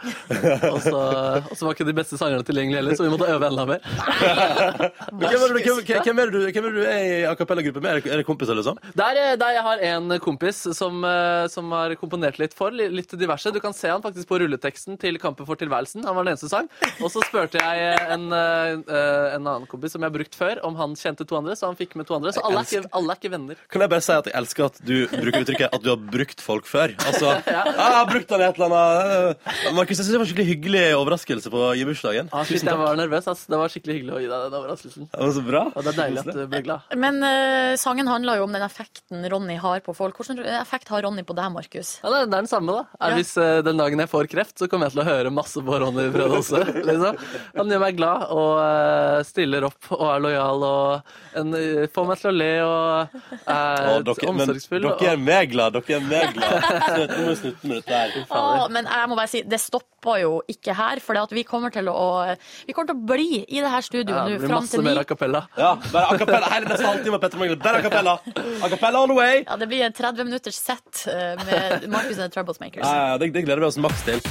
F: Og så eh, og så var ikke de beste sangerne tilgjengelige heller, så vi måtte øve enda mer.
A: Hvem, er det du- hvem, hvem, er det du- hvem er det du er i a cappella-gruppe med? Er det- Er det kompiser, liksom?
F: Der, eh, der jeg har en kompis som, eh, som har komponert litt for, li- litt diverse. Du kan se han faktisk på rulleteksten til Kampen for tilværelsen. Han var den eneste sang. Og så spurte jeg eh, en, eh, eh, en annen kompis som jeg har brukt før, om han kjente to andre, så han fikk med to andre. Så alle er ikke, alle er ikke venner.
A: Kan jeg bare si at jeg elsker at du bruker uttrykket at du har brukt folk før? Altså, ja, jeg har brukt han i et eller annet eh, Markus, jeg syns det var en skikkelig hyggelig overraskelse på i bursdagen.
F: Ah, shit, jeg var nervøs, ass. Det var skikkelig hyggelig å gi deg den overraskelsen.
A: Det var så bra.
F: Og det er deilig at du ble glad.
B: Men eh, sangen handler jo om den effekten Ronny har på folk. Hvilken effekt har Ronny på deg, Markus?
F: Ja, det er det er den samme, da. Er,
B: Ja.
F: Hvis eh, den dagen jeg får kreft, så kommer jeg til å høre masse på Ronny Brød også. Liksom. Han gjør meg glad og eh, stiller opp og er lojal og en, eh, får meg til å le og er
A: Å, dere, men
F: eh, omsorgsfull.
A: dere er meg glad, dere er meg glad. Slutt, nå må vi slutte med dette her.
B: Å, Ah, men jeg må bare si, det stopper jo ikke her, for det at vi kommer til å, vi kommer til å bli i det her studioet
F: og, ja, det
B: nå
F: blir
B: fram
F: masse
B: til ni.
F: mer a cappella.
A: Ja, bare a cappella. Hele neste halvtime av Petter Magnus. Bare a cappella. A cappella all the way.
B: Ja, det blir en 30 minutters set eh, med Marcus and the Troublemakers.
A: Ja, ja, det, det gleder vi oss maks til.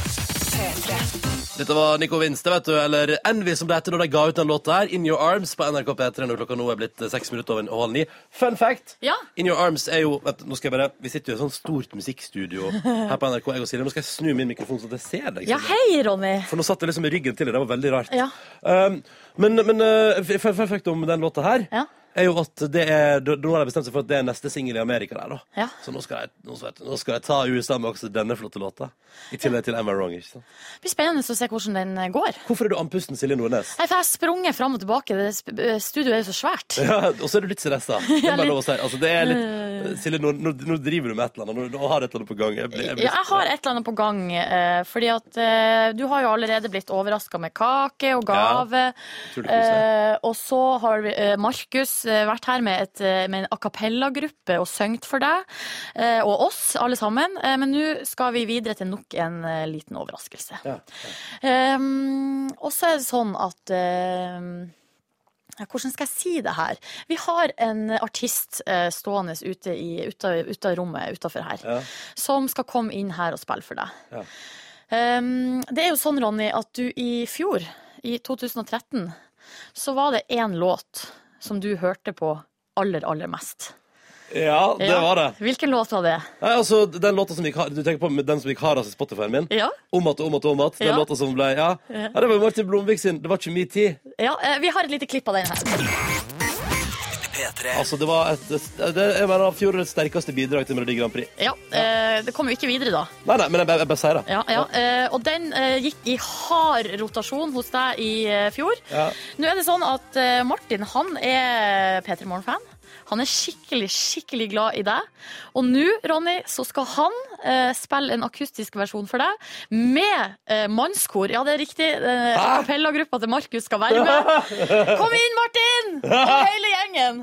A: Dette var Nico Vinste, vet du, eller Envy som det heter når de ga ut den låta her. In Your Arms på NRK P3 når klokka nå er blitt eh, seks minutter over halv ni. Fun fact!
B: Ja.
A: In Your Arms er jo vent, nå skal jeg bare, Vi sitter jo i et sånt stort musikkstudio her på NRK. Jeg og Silje, Nå skal jeg snu min mikrofon så at jeg ser deg.
B: Ja,
A: Silje.
B: hei, Ronny!
A: For nå satt jeg liksom i ryggen til deg. Det var veldig rart.
B: Ja.
A: Um, men men uh, f- f- fun fact om den låta her
B: Ja.
A: er jo at det er, da- Nå har de bestemt seg for at det er neste singel i Amerika. Der, da.
B: Ja.
A: Så nå skal, jeg, nå, skal jeg, nå skal jeg ta USA med også denne flotte låta. I tillegg til Am I Wrong. Ikke sant?
B: Det blir spennende å se hvordan den eh, går.
A: Hvorfor er du andpusten, Silje Nordnes?
B: Nei, for jeg har sprunget fram og tilbake. Det sp- eh, Studioet er jo så svært.
A: Ja, og så er du litt stressa. Det er bare lov å si. Altså, det er litt, Silje, nå, nå, nå driver du med et eller annet. Nå, nå har du et eller annet på gang. Jeg blir, jeg blir,
B: Ja, jeg har et eller annet på gang. eh, Fordi at eh, du har jo allerede blitt overraska med kake
A: Ja,
B: og gave.
A: tror det koser.
B: Eh, og så har vi, eh, Markus eh, vært her med, et, eh, med en a cappella-gruppe og sunget for deg eh, og oss alle sammen. Eh, men nå skal vi videre til nok en eh, liten overraskelse.
A: Ja,
B: Ehm, og så er det sånn at ehm, ja, hvordan skal jeg si det her? Vi har en artist eh, stående ute i ute, ute av rommet utafor her,
A: Ja.
B: som skal komme inn her og spille for deg.
A: Ja.
B: Ehm, det er jo sånn, Ronny, at du i fjor, i 2013, så var det én låt som du hørte på aller, aller mest.
A: ja, det
B: Ja.
A: var det.
B: Hvilken låt var det?
A: Nei, altså, den låta som gikk, har- Du tenker på med den som gikk hardest i Spotify-en min?
B: Ja,
A: Om at, om at, om at. Den
B: Ja.
A: låta som ble ja. ja, det var Martin Blomvik sin. Det var ikke min tid.
B: ja eh, vi har et lite klipp av den her.
A: Altså, det var et, det er en av fjorårets sterkeste bidrag til Melodi Grand Prix.
B: Ja, eh, det kom jo ikke videre da.
A: Nei, nei, men jeg, bare- jeg bare sier det.
B: Ja, ja. eh, og den eh, gikk i hard rotasjon hos deg i eh, fjor.
A: Ja.
B: Nå er det sånn at eh, Martin han er P3 Morgen-fan. Han er skikkelig skikkelig glad i deg. Og nå Ronny, så skal han eh, spille en akustisk versjon for deg med eh, mannskor. Ja, det er riktig. Eh, Kapella-gruppa til Markus skal være med. Kom inn, Martin! Og hele gjengen.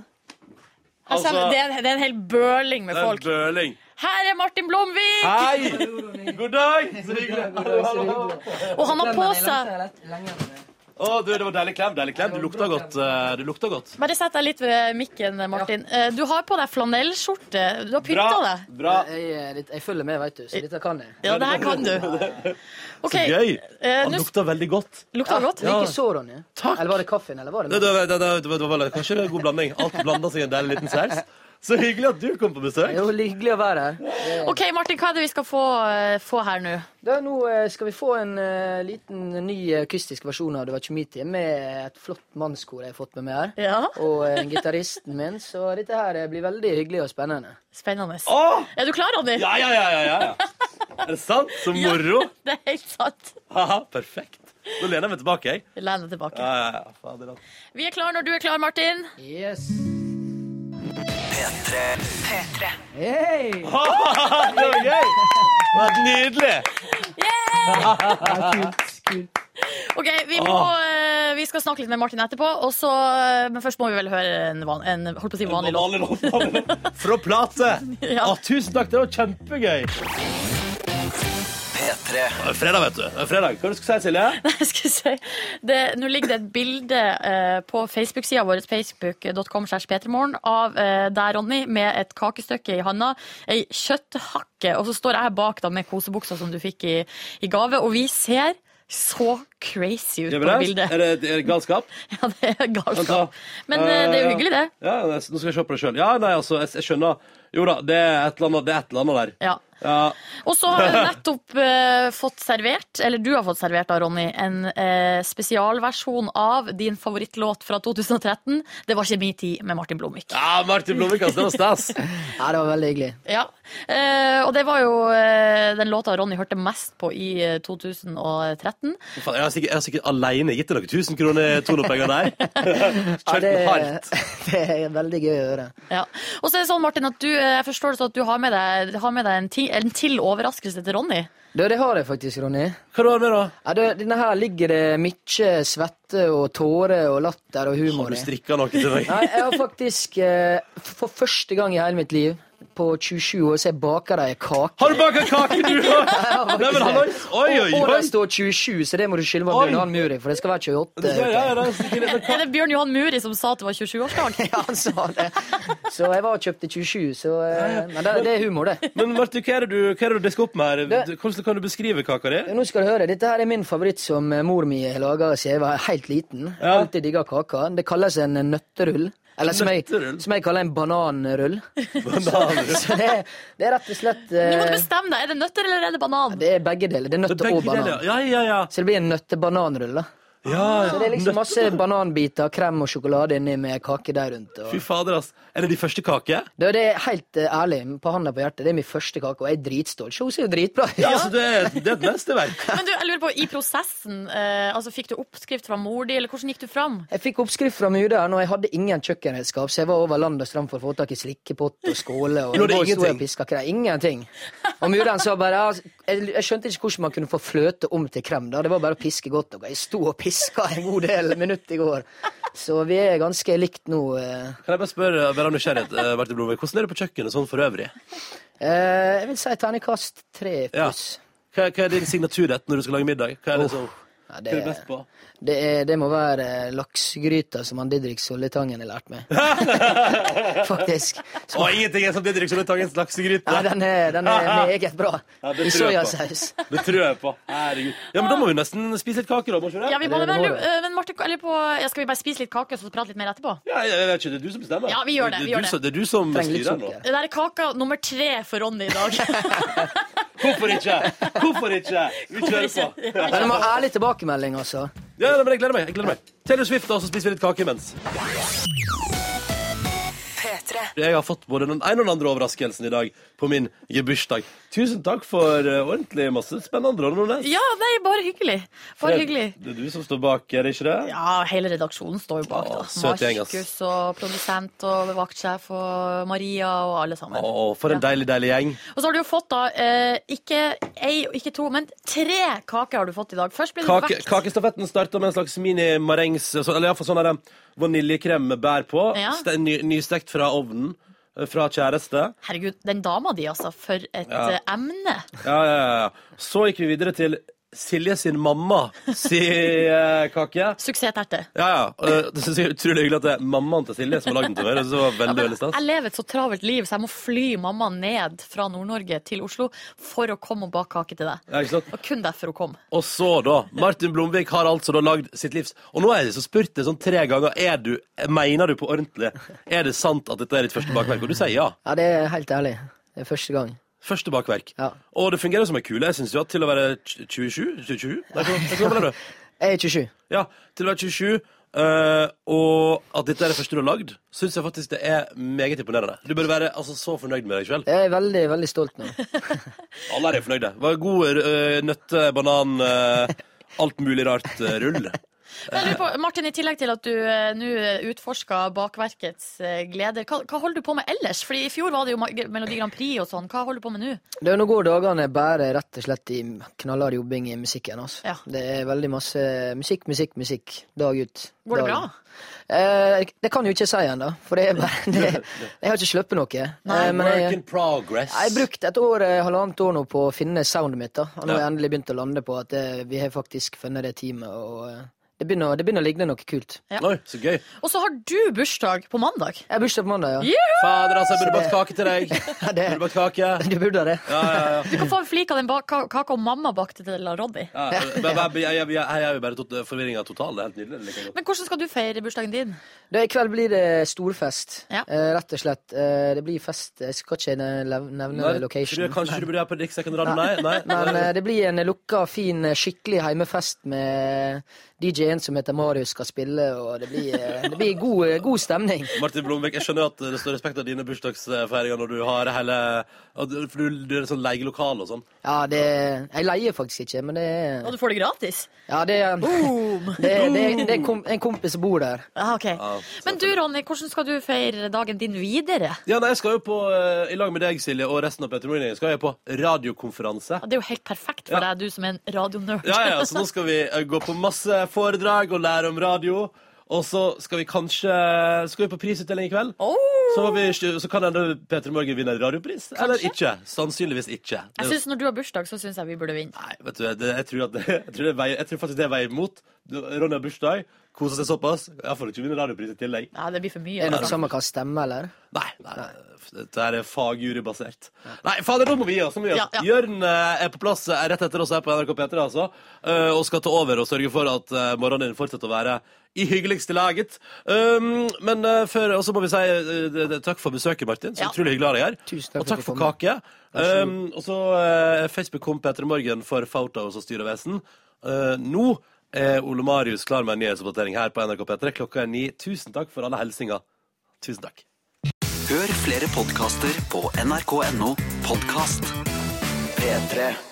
B: Her
A: Altså-
B: kommer- det, er en, det er en hel bøling med folk.
A: Bøling.
B: Her er Martin Blomvik!
A: Hei! God dag! Så hyggelig. Hallo, hallo.
B: Og han har på seg
A: Å, du, det var deilig klem. Deilig klem. Du lukta godt. eh, Du lukta godt.
B: Bare sett deg litt ved mikken, Martin. Eh, Du har på deg flanellskjorte. Du har pynta
A: Bra.
B: deg.
A: Bra.
G: Jeg, er litt- jeg følger med, veit du, så dette kan jeg.
B: Ja, det her kan du. OK.
A: Gøy.
B: eh,
A: Han
B: Nå
A: lukta veldig godt.
B: lukter det godt.
G: Du gikk i så, Ronny. Eller var det kaffen? eller var det
A: Det, det, det, det, det, var vel kanskje en god blanding. Alt blanda seg i en deilig liten saus. Så hyggelig at du kom på
G: Det
A: besøk.
G: er jo hyggelig å være her.
B: OK, Martin, hva er det vi skal få, eh, få her nå?
G: Da, nå eh, skal vi få en eh, liten ny akustisk versjon av Det var ikke min tid, med et flott mannskor jeg har fått med meg her.
B: Ja.
G: Og eh, gitaristen min, så dette her eh, blir veldig hyggelig og spennende.
B: Spennende.
A: Å!
B: Er du klar, Ronny?
A: Ja, ja, ja, ja, ja, ja. Er det sant? Så moro.
B: Det er helt sant.
A: Haha, perfekt. Nå lener jeg meg tilbake, jeg.
B: Len deg tilbake.
A: Ja, ja, ja, fader, altså.
B: Vi er klar når du er klar, Martin.
G: Yes.
A: P3.
G: Hei!
A: Det var gøy! Det var nydelig!
G: Ja, kult, kult.
B: Ok, vi, må, eh, vi skal snakke litt med Martin etterpå, og så, eh, men først må vi vel høre en, van, en holdt på å si vanlig låt.
A: Fra plate.
B: Ja.
A: Å, tusen takk, det var kjempegøy. Det er Fredag, vet du. Det er Fredag. Hva er det du skulle si, Silje?
B: Jeg skulle si, det, nå ligger det et bilde eh, på Facebook-sida vår, facebook.com slash petermorgen, av eh, deg, Ronny, med et kakestykke i handa, ei kjøtthakke, og så står jeg bak da med kosebuksa som du fikk i, i gave, og vi ser så crazy ut
A: Er
B: på
A: det,
B: bildet.
A: er det, er det galskap?
B: Ja, det er galskap.
A: Altså,
B: Men eh, det er jo hyggelig, det.
A: Ja, det- Nå skal jeg se på det sjøl. Ja, nei, altså, jeg, jeg skjønner. Jo da, det er et eller annet, det er et eller annet der.
B: Ja.
A: Ja,
B: Og så har vi nettopp eh, fått servert, eller du har fått servert da, Ronny, en eh, spesialversjon av din favorittlåt fra 2013, Det var ikke min tid, med Martin Blomvik.
A: ja Martin Blomvik, altså, det var stas.
G: Ja, det var veldig hyggelig.
B: Ja, eh, og det var jo eh, den låta Ronny hørte mest på i eh, 2013.
A: Faen, Jeg har sikkert, jeg har sikkert alene gitt deg noen tusen kroner i tonopenger der.
G: Ja,
A: Kjørt
G: det,
A: den hardt.
G: det er veldig gøy å høre.
B: Ja. Og så er det sånn, Martin, at du, eh, jeg forstår det sånn at du har med deg, har med deg en, ti, en til overraskelse til Ronny.
G: Du, det har jeg faktisk, Ronny.
A: Hva har du med, da?
G: Ja, du, denne her ligger det mye svette og tårer og latter og
A: Har
G: humor
A: du
G: i.
A: strikka noe til meg?
G: Nei, jeg har faktisk eh, For første gang i hele mitt liv, på 27 år, så jeg baker deg kake.
A: Har du baka kake, du òg? Nei, men hallois! Oi, oi,
G: Og
A: oi!
G: det står 27, så det må du skylde på
A: Oi.
G: Bjørn Johan Muri, for det skal være 28.
A: Ja, ja, ja, det er sikkert- men hva-
B: Er det Bjørn Johan Muri som sa at det var 27-årsdag?
G: Ja, han sa det. Så jeg var og kjøpte 27, så eh, Men det, det er humor, det.
A: Men Martin, hva er det du, hva er det du disker opp med her?
G: Det-
A: Hvordan kan du beskrive kaka di?
G: Nå skal du høre, Dette her er min favoritt som eh, mor mi laga siden altså jeg var helt liten. Jeg har
A: Ja.
G: Alltid digga kaka. Det kalles en eh, nøtterull. Eller som jeg,
A: Nøtterull?
G: som jeg kaller en bananrull.
A: Bananer.
G: Så det, det er rett og slett
B: Du må
G: eh,
B: bestemme deg. Er det nøtter eller er det banan?
G: Det er begge deler. Det er nøtt og
A: Begge
G: banan.
A: deler. Ja, ja, ja.
G: Så det blir en nøttebananrull. da.
A: ja.
G: Så det er liksom masse bananbiter, krem og sjokolade inni med kake der rundt. Og...
A: Fy fader, ass. Er det de første kake?
G: Du, det er helt eh, ærlig, på handa på hjertet, det er min første kake, og jeg er dritstolt. Se, hun ser jo dritbra ut.
A: Ja, altså, det er, det er et mesterverk.
B: Men du, jeg lurer på, i prosessen, eh, altså fikk du oppskrift fra mor di, eller hvordan gikk du fram?
G: Jeg fikk oppskrift fra muderen, og jeg hadde ingen kjøkkenredskap, så jeg var over land og strand for å få tak i slikkepott og skåle. Og
A: Du hadde
G: bare sto
A: ingenting?
G: og pisket krem. Ingenting. Og muderen sa bare ja, jeg, jeg skjønte ikke hvordan man kunne få fløte om til krem. da. Det var bare å piske godt. Og jeg sto og piska en god del minutt i går. Så vi er ganske likt nå. eh.
A: Kan jeg bare spørre, bare av nysgjerrighet, eh, Martin Blomvik, hvordan er det på kjøkkenet sånn for øvrig?
G: Eh, Jeg vil si terningkast tre pluss.
A: Hva, hva er din signaturrett når du skal lage middag? Hva er det som
G: Ja,
A: hva er du best på?
G: Det, er, det må være eh, laksegryta som han Didrik Solletangen har lært meg. Faktisk.
A: Å, ingenting er som Didrik Solletangens laksegryte.
G: Ja, den er, den er meget bra.
A: Ja, det
G: I
A: tror jeg på.
G: soyasaus.
A: Det tror jeg på. Herregud. Ja, men da må vi nesten spise litt kake, da. Må ikke vi
B: Ja,
A: det?
B: vi må,
G: Det
B: men,
G: må
B: lu-
G: det.
B: eh, men Martin, eller på, ja, skal vi bare spise litt kake og så prate litt mer etterpå?
A: Ja, jeg vet ikke, det er du som bestemmer.
B: Ja, vi gjør det, vi
A: er
B: gjør
A: du
B: det.
A: som- Det er du som
G: Trenger litt
A: styrer nå.
G: sukker.
B: Det der er kaka nummer tre for Ronny i dag.
A: Hvorfor ikke? Hvorfor ikke? Vi kjører på.
G: Men det må ha ærlig tilbakemelding, altså.
A: Ja, nei, men jeg gleder meg. jeg gleder meg Taylor Swift, da, så spiser vi litt kake imens. Jeg har fått både den ene og den andre overraskelsen i dag på min gebursdag. Tusen takk for eh, ordentlig masse spennende råd. Nordnes.
B: Ja, nei, bare hyggelig. Bare hyggelig.
A: Det er du som står bak, er det ikke det?
B: Ja, hele redaksjonen står jo bak. da.
A: Å, søt gjeng, ass.
B: Markus og produsent og vaktsjef og Maria og alle sammen.
A: Å, for en deilig, deilig gjeng.
B: Og så har du jo fått da eh, ikke ei og ikke to, men tre kaker har du fått i dag. Først ble det
A: Kake,
B: vekt.
A: kakestafetten starta med en slags mini-marengs, så- eller iallfall sånn der, eh, vaniljekrem med bær på.
B: Ja.
A: ste- Ny, nystekt fra ovnen. eh, Fra kjæreste.
B: Herregud, den dama di, altså. For et eh, emne.
A: Ja, ja, ja, ja. Så gikk vi videre til Silje sin mamma si eh, kake.
B: Suksessterte.
A: Ja, ja. Eh, Det synes jeg er utrolig hyggelig at det er mammaen til Silje som har lagd den til meg. Det synes jeg var veldig, veldig stas.
B: Jeg lever et så travelt liv, så jeg må fly mamma ned fra Nord-Norge til Oslo for å komme og bake kake til deg.
A: Ja, ikke sant?
B: Og kun derfor hun kom.
A: Og så, da. Martin Blomvik har altså da lagd sitt livs Og nå er jeg så spurt det sånn tre ganger. Er du, mener du på ordentlig? Er det sant at dette er ditt første bakverk? Og du sier ja.
G: Ja, det er helt ærlig. Det er første gang.
A: Første bakverk.
G: Ja.
A: Og det fungerer som en kule. Jeg syns jo at til å være tj- 27 27? Nei, hvor- hvor gammel er du?
G: Jeg er 27.
A: Ja, til å være 27. eh, og at dette er det første du har lagd, syns jeg faktisk det er meget imponerende. Du bør være altså, så fornøyd med deg sjøl.
G: Jeg er veldig, veldig stolt nå.
A: Alle er fornøyde. Det var god uh, nøtte, banan, eh, alt mulig rart eh, rull.
B: Men jeg lurer på, Martin, i tillegg til at du eh, nå utforska bakverkets eh, gleder, hva, hva holder du på med ellers? Fordi i fjor var det jo Ma- Melodi Grand Prix og sånn. Hva holder du på med nå?
G: Det er Nå går dagene bare rett og slett i knallhard jobbing i musikken. Altså.
B: Ja.
G: Det er veldig masse musikk, musikk, musikk. Dag ut.
B: Går det
G: dag
B: bra?
G: inn. Eh, det kan jeg jo ikke si ennå, for det er bare det, Jeg har ikke sluppet noe. Eh, men
A: Work
G: jeg,
A: in progress.
G: jeg har brukt et år, eh, halvannet år nå på å finne soundet mitt. da Og nå har jeg endelig begynt å lande på at eh, vi har faktisk funnet det teamet. Og eh, det begynner, det begynner å ligne noe kult.
B: Ja.
A: Oi, så gøy.
B: Og så har du bursdag på mandag.
G: Jeg har bursdag på mandag, ja.
A: Fader, altså, jeg burde bakt kake til deg.
G: ja
A: Jeg Burde
G: det,
A: bakt kake.
G: du burde det.
A: Ja, ja, ja.
B: Du kan få en flik av den ba- ka- kaka mamma bakte til Roddy.
A: Ja, men- men- men- jeg- jeg- jeg- Her er jo bare tot- forvirringa total. Det er helt nydelig. Det liker jeg godt.
B: Men hvordan skal du feire bursdagen din?
G: Du, I kveld blir det storfest,
B: Ja.
G: eh, rett og slett. Eh, det blir fest Jeg skal ikke nev- nevne
A: Nei, tror
G: location.
A: jeg Kanskje du burde være på Riksdekken radio? Nei. nei, nei.
G: Men eh, det blir en lukka, fin, eh, skikkelig heimefest med DJ-en som heter Marius skal spille, og det blir, eh, det blir god, eh, god stemning.
A: Martin Blomvik, jeg skjønner at det står respekt av dine bursdagsfeiringer når du har hele at du- For du, du er sånn leielokalet og sånn.
G: Ja, det Jeg leier faktisk ikke, men det er
B: Og du Oh! får det gratis?
G: Ja, det er
B: Boom!
G: det, er- det, er- det er en kom- en kompis som bor der.
B: Ah, ok.
A: Ja,
B: Men du, Ronny, hvordan skal du feire dagen din videre?
A: Ja, nei, jeg skal jo på, eh, I lag med deg, Silje, og resten av Petter Morning, skal jeg på radiokonferanse.
B: Ja, Det er jo helt perfekt for
A: Ja.
B: deg, du som er en radionerd.
A: Ja, ja, så nå skal vi eh, gå på masse foredrag og lære om radio. Og så skal vi kanskje Skal vi på prisutdeling i kveld?
B: Åh!
A: Så, har vi, så kan hende Peter Morgen vinner radiopris. Eller ikke. Sannsynligvis ikke. Det,
B: Jeg synes Når du har bursdag, så syns jeg vi burde vinne.
A: nei, vet du, det, jeg, tror at det, jeg, tror det veier, jeg tror faktisk det veier imot. Du- Ronny har bursdag, koser seg såpass. Jeg får ikke vinne radiopris i tillegg.
B: Ja, det blir for
G: Er
B: mye.
G: det noe
B: altså.
G: som man kan stemme, eller?
A: Nei, nei, nei. Dette er fagjurybasert. Nei, fader, nå må vi gi oss! nå må vi gi oss.
B: Ja, ja.
A: Jørn eh, er på plass eh, rett etter oss her på NRK P3 altså, eh, og skal ta over og sørge for at eh, morgenen din fortsetter å være i hyggeligste laget. Um, men eh, før, og så må vi si eh, det- det- takk for besøket, Martin. Så
B: Ja.
A: utrolig hyggelig å ha deg her.
G: Tusen takk
A: og takk
G: for
A: for
G: at jeg
A: kake. Um, og så eh, Facebook-kom Petter Morgen for Photos og styrevesen. Eh, nå er Ole Marius klar med en nyhetsoppdatering her på NRK P3. Klokka er ni. Tusen takk for alle hilsinger. Tusen takk.
H: Hør flere podkaster på nrk.no podkast. P3.